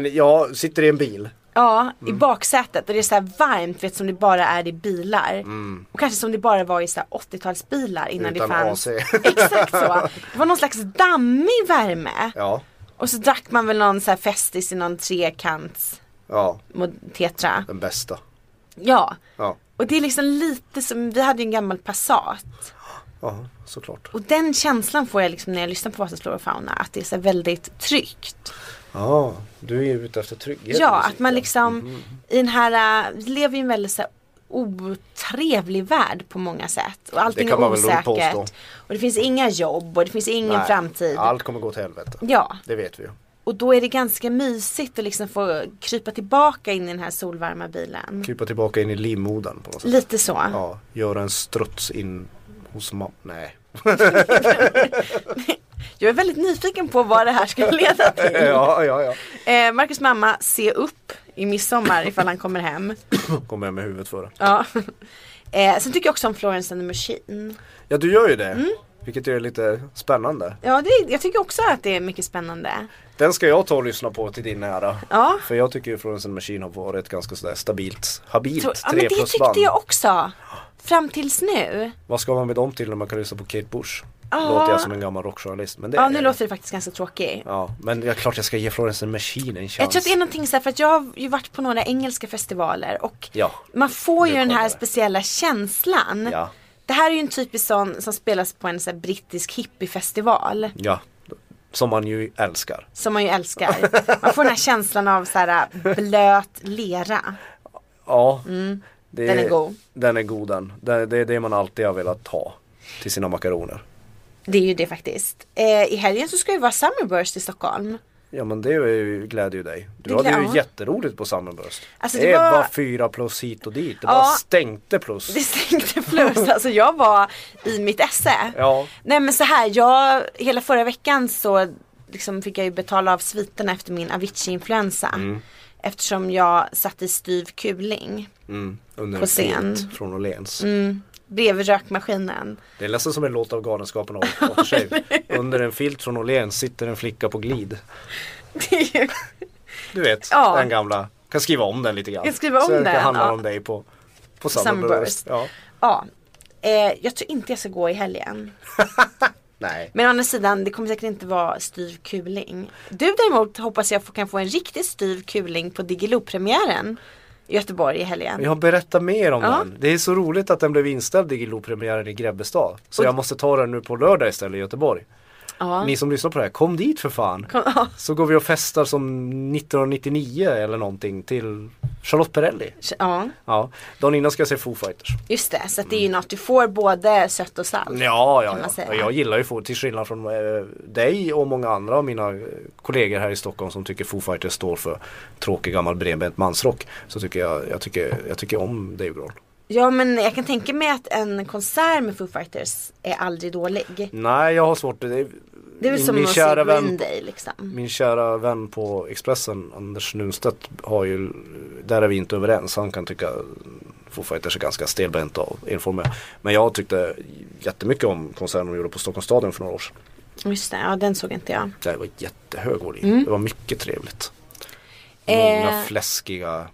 S3: Men jag sitter i en bil.
S2: Ja, i baksätet och det är så här varmt vet som det bara är i bilar. Och kanske som det bara var i så här 80-talsbilar innan
S3: Mm. Utan
S2: det fanns. (laughs)
S3: AC.
S2: Exakt så. Det var någon slags dammig värme.
S3: Ja,
S2: Och så drack man väl någon så här festis i någon trekants
S3: ja,
S2: mot tetra.
S3: den bästa.
S2: Ja.
S3: Ja,
S2: Och det är liksom lite som, vi hade ju en gammal Passat.
S3: ja såklart.
S2: Och den känslan får jag liksom när jag lyssnar på Vasas flora och fauna. Att det är så här väldigt tryggt.
S3: Ja, du är ju ute efter trygghet. i
S2: Ja,
S3: musiken.
S2: att man liksom
S3: Mm-hmm.
S2: i den här, äh, vi lever i en väldigt så här, otrevlig värld på många sätt. Och allting
S3: kan
S2: är
S3: man väl lugnt
S2: osäkert.
S3: påstå.
S2: Och det finns inga jobb och det finns ingen
S3: Nej,
S2: framtid.
S3: Allt kommer gå till helvete.
S2: Ja,
S3: Det vet vi ju.
S2: och då är det ganska mysigt att liksom få krypa tillbaka in i den här solvarma bilen.
S3: Krypa tillbaka in i livmodern på något sätt.
S2: Lite så.
S3: Ja, göra en struts in hos mamma. Nej.
S2: Jag är väldigt nyfiken på vad det här skulle leda till.
S3: Ja, ja, ja.
S2: Eh, Marcus mamma, se upp i midsommar ifall han kommer hem.
S3: Kommer jag med huvudet för det.
S2: Ja. Eh, sen tycker jag också om Florence and the Machine.
S3: Ja, du gör ju det.
S2: Mm.
S3: Vilket är lite spännande.
S2: Ja, det, är- jag tycker också att det är mycket spännande.
S3: Den ska jag ta och lyssna på till din ära.
S2: Ja.
S3: För jag tycker ju Florence and the Machine har varit ganska sådär stabilt,
S2: Så,
S3: habilt
S2: ja men
S3: 3
S2: det
S3: plus
S2: tyckte
S3: band.
S2: jag också. Fram tills nu.
S3: Vad ska man med dem till när man kan lyssna på Kate Bush?
S2: Ja.
S3: Låter jag som en gammal rockjournalist men det
S2: Ja,
S3: är
S2: nu
S3: jag.
S2: låter det faktiskt ganska tråkigt.
S3: Eh. Ja, men det är klart jag ska ge Florence and the Machine en chans.
S2: Jag tror att det är någonting så här, för att jag har ju varit på några engelska festivaler och
S3: Ja.
S2: man får ju
S3: Nu
S2: den
S3: kommer
S2: här
S3: det.
S2: speciella känslan.
S3: Ja.
S2: Det här är ju en typisk sån som spelas på en så här brittisk hippiefestival.
S3: Ja, som man ju älskar.
S2: Som man ju älskar. Man får den här känslan av så här äh, blöt lera.
S3: Ja, det
S2: Mm. Den är god.
S3: Den är god den. Det, det är det man alltid har velat ha till sina makaroner.
S2: Det är ju det faktiskt. Eh, I helgen så ska ju vara Summerburst i Stockholm. (laughs)
S3: Ja men det är ju- gläder ju dig. Du
S2: Det
S3: hade ju
S2: glä- ja.
S3: jätteroligt på Summerburst.
S2: Alltså,
S3: det
S2: det
S3: var...
S2: var-
S3: bara fyra plus hit och dit. Det bara
S2: Ja.
S3: stänkte plus.
S2: Det stänkte plus, alltså jag var i mitt esse. (laughs)
S3: Ja.
S2: Nej men så här, jag, hela förra veckan så liksom fick jag ju betala av sviten efter min Avicii-influensa. Eftersom jag satt i styv kuling
S3: Mm, under
S2: På
S3: en flit
S2: scen. Mm.
S3: Från Åhléns.
S2: bredvid rökmaskinen. (laughs)
S3: Det är nästan som en låt av Galenskaparna och och för sig. Under en filt från Åhléns sitter en flicka på glid.
S2: Det är ju-
S3: Du vet,
S2: Ja.
S3: den gamla. Kan skriva om den lite grann.
S2: Jag skriver om
S3: Så
S2: den,
S3: handlar
S2: ja.
S3: om dig på, på
S2: Summerburst.
S3: Summerburst. Ja.
S2: ja. Eh, jag tror inte jag ska gå i helgen.
S3: Nej.
S2: Men å andra sidan, det kommer säkert inte vara styv kuling. Du däremot hoppas jag får- kan få en riktigt styv kuling på Diggiloo-premiären i Göteborg i helgen.
S3: Jag berättar mer om
S2: Ja.
S3: den. Det är så roligt att den blev inställd i Gillo-premiären i Grebbestad. Så jag måste ta den nu på lördag istället i Göteborg.
S2: Ja.
S3: Ni som lyssnar på det här, kom dit för fan. Så går vi och festar som 1999 eller någonting till Charlotte Perrelli.
S2: ja,
S3: Ja, dagen innan ska jag se Foo Fighters.
S2: just det. Så att det är ju något du får både sött och salt.
S3: Mm. Ja, ja,
S2: kan man
S3: ja.
S2: säga.
S3: Och jag gillar ju Foo till skillnad från eh, dig och många andra av mina eh, kollegor här i Stockholm som tycker Foo Fighters står för tråkig gammal bredbent mansrock. Så tycker jag, jag tycker, jag tycker om Dave Grohl.
S2: Ja men jag kan tänka mig att en konsert med Foo Fighters är aldrig dålig.
S3: Nej, jag har svårt. Det är,
S2: Det är väl
S3: min,
S2: som
S3: min
S2: att se
S3: kära
S2: Green
S3: vän,
S2: Day liksom.
S3: min kära vän på Expressen, Anders Nunstedt, har ju, där är vi inte överens. Han kan tycka Foo Fighters är ganska stelbenta och enformiga. Men jag tyckte jättemycket om konserten de gjorde på Stockholmsstadion för några år sedan.
S2: Just det, ja den såg inte jag.
S3: Det var jättehög volym. Det var mycket trevligt. Många
S2: Mm. Eh.
S3: fläskiga,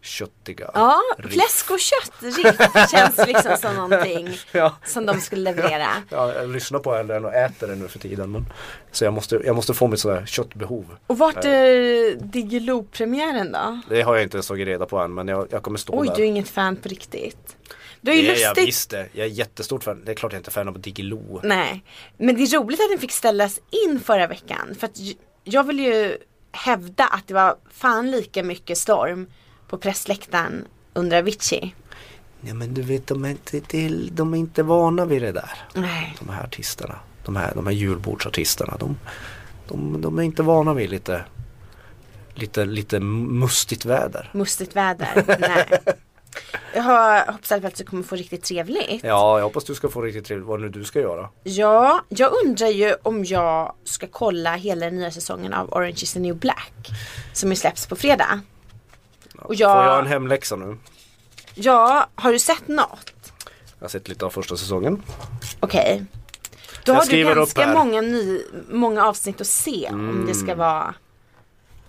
S3: köttiga
S2: Ja,
S3: riff.
S2: fläsk och kött riff känns liksom som någonting
S3: (laughs) Ja.
S2: som de skulle leverera.
S3: Ja, jag lyssnar på den och äter den nu för tiden. Men, så jag måste, jag måste få mitt sådär köttbehov.
S2: Och vart är Diggiloo-premiären då?
S3: Det har jag inte ens tagit reda på än men jag, jag kommer stå
S2: Oj,
S3: där.
S2: du är inget fan på riktigt. Du är
S3: det
S2: ju
S3: är jag
S2: lustigt.
S3: visst det. Jag är jättestort fan. Det är klart jag inte är fan av Diggiloo.
S2: Nej, men det är roligt att den fick ställas in förra veckan. För att j- jag vill ju hävda att det var fan lika mycket storm på pressläktaren under Avicii.
S3: Ja men du vet de är, inte, till- de är inte vana vid det där.
S2: Nej.
S3: De här artisterna. De här, de här julbordsartisterna. De, de, de är inte vana vid lite, lite, lite mustigt väder.
S2: Mustigt väder. Nej. Jag har- hoppas i alla fall att du kommer få riktigt trevligt.
S3: Ja jag hoppas du ska få riktigt trevligt. Vad nu du ska göra.
S2: Ja, jag undrar ju om jag ska kolla hela den nya säsongen av Orange is the new black. Som ju släpps på fredag. Och
S3: Får jag en
S2: jag,
S3: hemläxa nu?
S2: ja, har du sett något?
S3: Jag har sett lite av första säsongen.
S2: Okej. Då
S3: Jag
S2: har du
S3: skriver upp
S2: ganska
S3: här. Mm.
S2: många, ny, många avsnitt att se om det ska vara.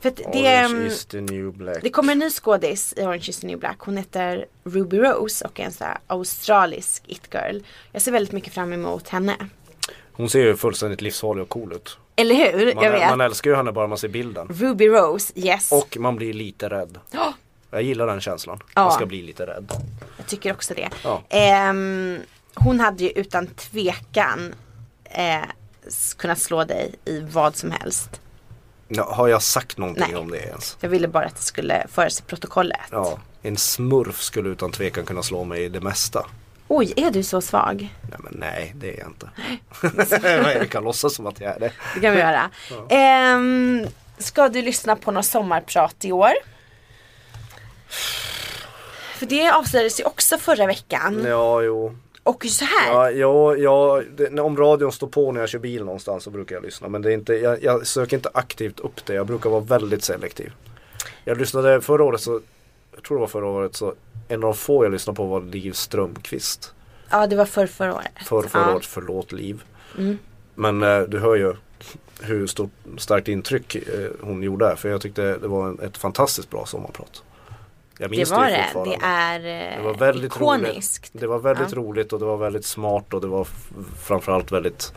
S2: För att det,
S3: Orange
S2: ehm,
S3: is the new black.
S2: det kommer en ny skådis i Orange is the new black. Hon heter Ruby Rose och är en sån här australisk it-girl. Jag ser väldigt mycket fram emot henne.
S3: Hon ser ju fullständigt livsfarlig och cool ut.
S2: Eller hur?
S3: Man,
S2: jag vet.
S3: man älskar ju henne bara man ser bilden.
S2: Ruby Rose, yes.
S3: Och man blir lite rädd. Jag gillar den känslan.
S2: Ja.
S3: Man ska bli lite rädd.
S2: (gasps) Jag tycker också det.
S3: Ja.
S2: Ehm, hon hade ju utan tvekan eh, s- kunnat slå dig i vad som helst.
S3: Ja, har jag sagt någonting
S2: Nej.
S3: om det ens?
S2: Jag ville bara att det skulle föras i protokollet.
S3: Ja. En smurf skulle utan tvekan kunna slå mig i det mesta.
S2: Oj, är du så svag?
S3: Nej men nej, det är jag inte. (laughs) Men jag kan låtsas som att jag är det.
S2: Det kan vi göra. Ehm, ska du lyssna på något sommarprat i år? För det avslöjades ju också förra veckan.
S3: Ja, jo.
S2: Och så här.
S3: Ja, ja, ja det, när- om radion står på när jag kör bil någonstans så brukar jag lyssna. Men det är inte, jag, jag söker inte aktivt upp det. Jag brukar vara väldigt selektiv. Jag lyssnade förra året så, jag tror det var förra året så, en av de få jag lyssnade på var Liv Strömqvist.
S2: Ja, det var för förra året.
S3: För förra
S2: ja. Mm.
S3: året, förlåt Liv. Men eh, du hör ju hur stort, starkt intryck eh, hon gjorde. här, För jag tyckte det var en, ett fantastiskt bra sommarprat. Jag
S2: Det
S3: minns det,
S2: var
S3: ju
S2: det.
S3: fortfarande.
S2: Det är, eh,
S3: Det var väldigt
S2: ikoniskt.
S3: roligt. Det var väldigt roligt och det var väldigt smart och det var f- framförallt väldigt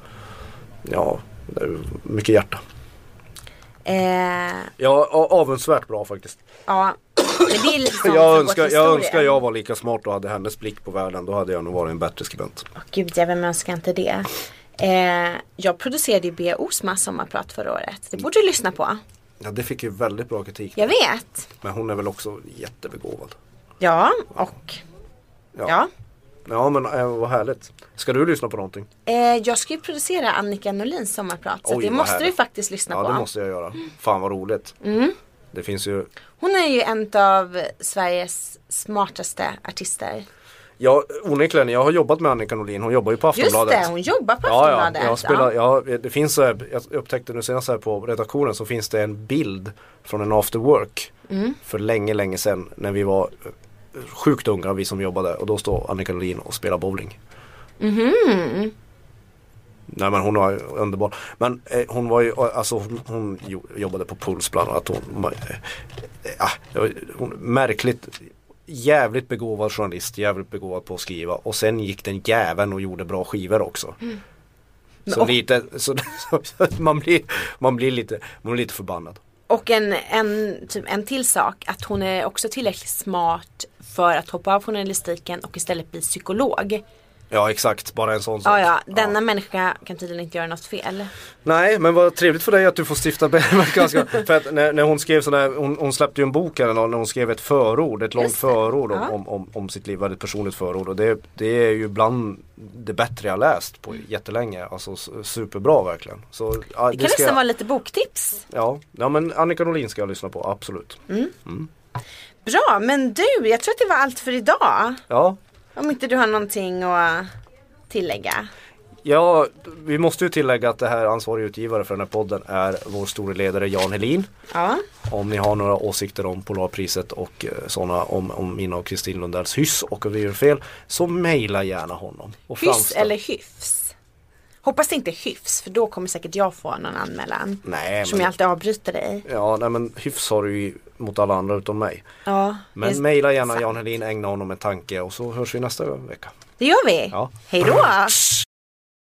S3: Ja, det är mycket hjärta.
S2: Eh,
S3: Ja, a- avundsvärt bra faktiskt.
S2: ja, men det är lite sånt som
S3: Jag
S2: går
S3: önskar,
S2: till
S3: jag
S2: historien.
S3: önskar jag var lika smart och hade hennes blick på världen. Då hade jag nog varit en bättre skribent.
S2: Åh, gud, jag vem önskar inte det? Eh, jag producerade ju B. Osmas sommarprat förra året. Det borde du lyssna på.
S3: Ja, det fick ju väldigt bra kritik.
S2: Jag vet.
S3: Men hon är väl också jättebegåvad.
S2: Ja, och
S3: Ja.
S2: ja.
S3: Ja, men eh, vad härligt. Ska du lyssna på någonting?
S2: Eh, jag ska ju producera Annika Norlins sommarprat så
S3: Oj,
S2: det
S3: vad
S2: måste du
S3: härligt.
S2: faktiskt lyssna
S3: Ja,
S2: på.
S3: det måste jag göra. Fan vad roligt.
S2: Mm.
S3: Det finns ju
S2: Hon är ju en av Sveriges smartaste artister.
S3: Ja, onekligen. Jag har jobbat med Annika Norlin. Hon jobbar ju på
S2: Just
S3: Aftonbladet.
S2: det, hon jobbar på
S3: Ja,
S2: Aftonbladet.
S3: ja. Jag, spelar, ja, det finns, eh, jag upptäckte nu senast här på redaktionen så finns det en bild från en after work
S2: Mm.
S3: för länge, länge sedan när vi var eh, sjukt unga, vi som jobbade och då står Annika Norlin och spelar bowling. Nej men hon var underbar. Men eh, hon var ju, alltså hon, hon jo- jobbade på Puls bland annat. Hon, eh, ja, det var- hon, märkligt, jävligt begåvad journalist, jävligt begåvad på att skriva. Och sen gick den jäveln och gjorde bra skivor också. Så
S2: Mm. och-
S3: lite, så, (laughs) så, så att man, blir, man, blir lite, man blir lite förbannad.
S2: Och en, en, typ, en till sak, att hon är också tillräckligt smart för att hoppa av journalistiken och istället bli psykolog.
S3: Ja exakt, bara en sån sak.
S2: Ja, ja, denna människa kan tydligen inte göra något fel.
S3: Nej men vad trevligt för dig att du får stifta (laughs) bergverkanska. för att när, när hon skrev sån här, hon, hon släppte ju en bok här en dag när hon skrev ett förord, ett långt förord om, om, om, om sitt liv, väldigt personligt förord. Och det, det är ju bland det bättre jag läst på jättelänge. Alltså s- superbra verkligen. Så, ja,
S2: Mm. Det
S3: det
S2: kan
S3: ska
S2: nästan
S3: jag,
S2: vara lite boktips.
S3: ja. ja men Annika Norlin ska jag lyssna på, absolut.
S2: Mm. Bra, men du, jag tror att det var allt för idag.
S3: Ja,
S2: Om inte du har någonting att tillägga.
S3: Ja, vi måste ju tillägga att det här ansvarig utgivare för den här podden är vår store ledare Jan Helin.
S2: Ja,
S3: Om ni har några åsikter om Polarpriset och eh, sådana om, om mina och Kristin Lundells hyss och om vi gör fel så mejla gärna honom. Och
S2: hyss
S3: framställ-
S2: eller hyfs? Hoppas det inte är hyfs, för då kommer säkert jag få någon anmälan.
S3: Nej,
S2: Som jag
S3: men,
S2: alltid avbryter dig.
S3: ja, nej, men hyfs har du ju mot alla andra utom mig.
S2: Ja, det-
S3: Men mejla gärna Jan Helin, ägna honom en tanke och så hörs vi nästa vecka.
S2: det gör vi.
S3: Ja.
S2: Hej då!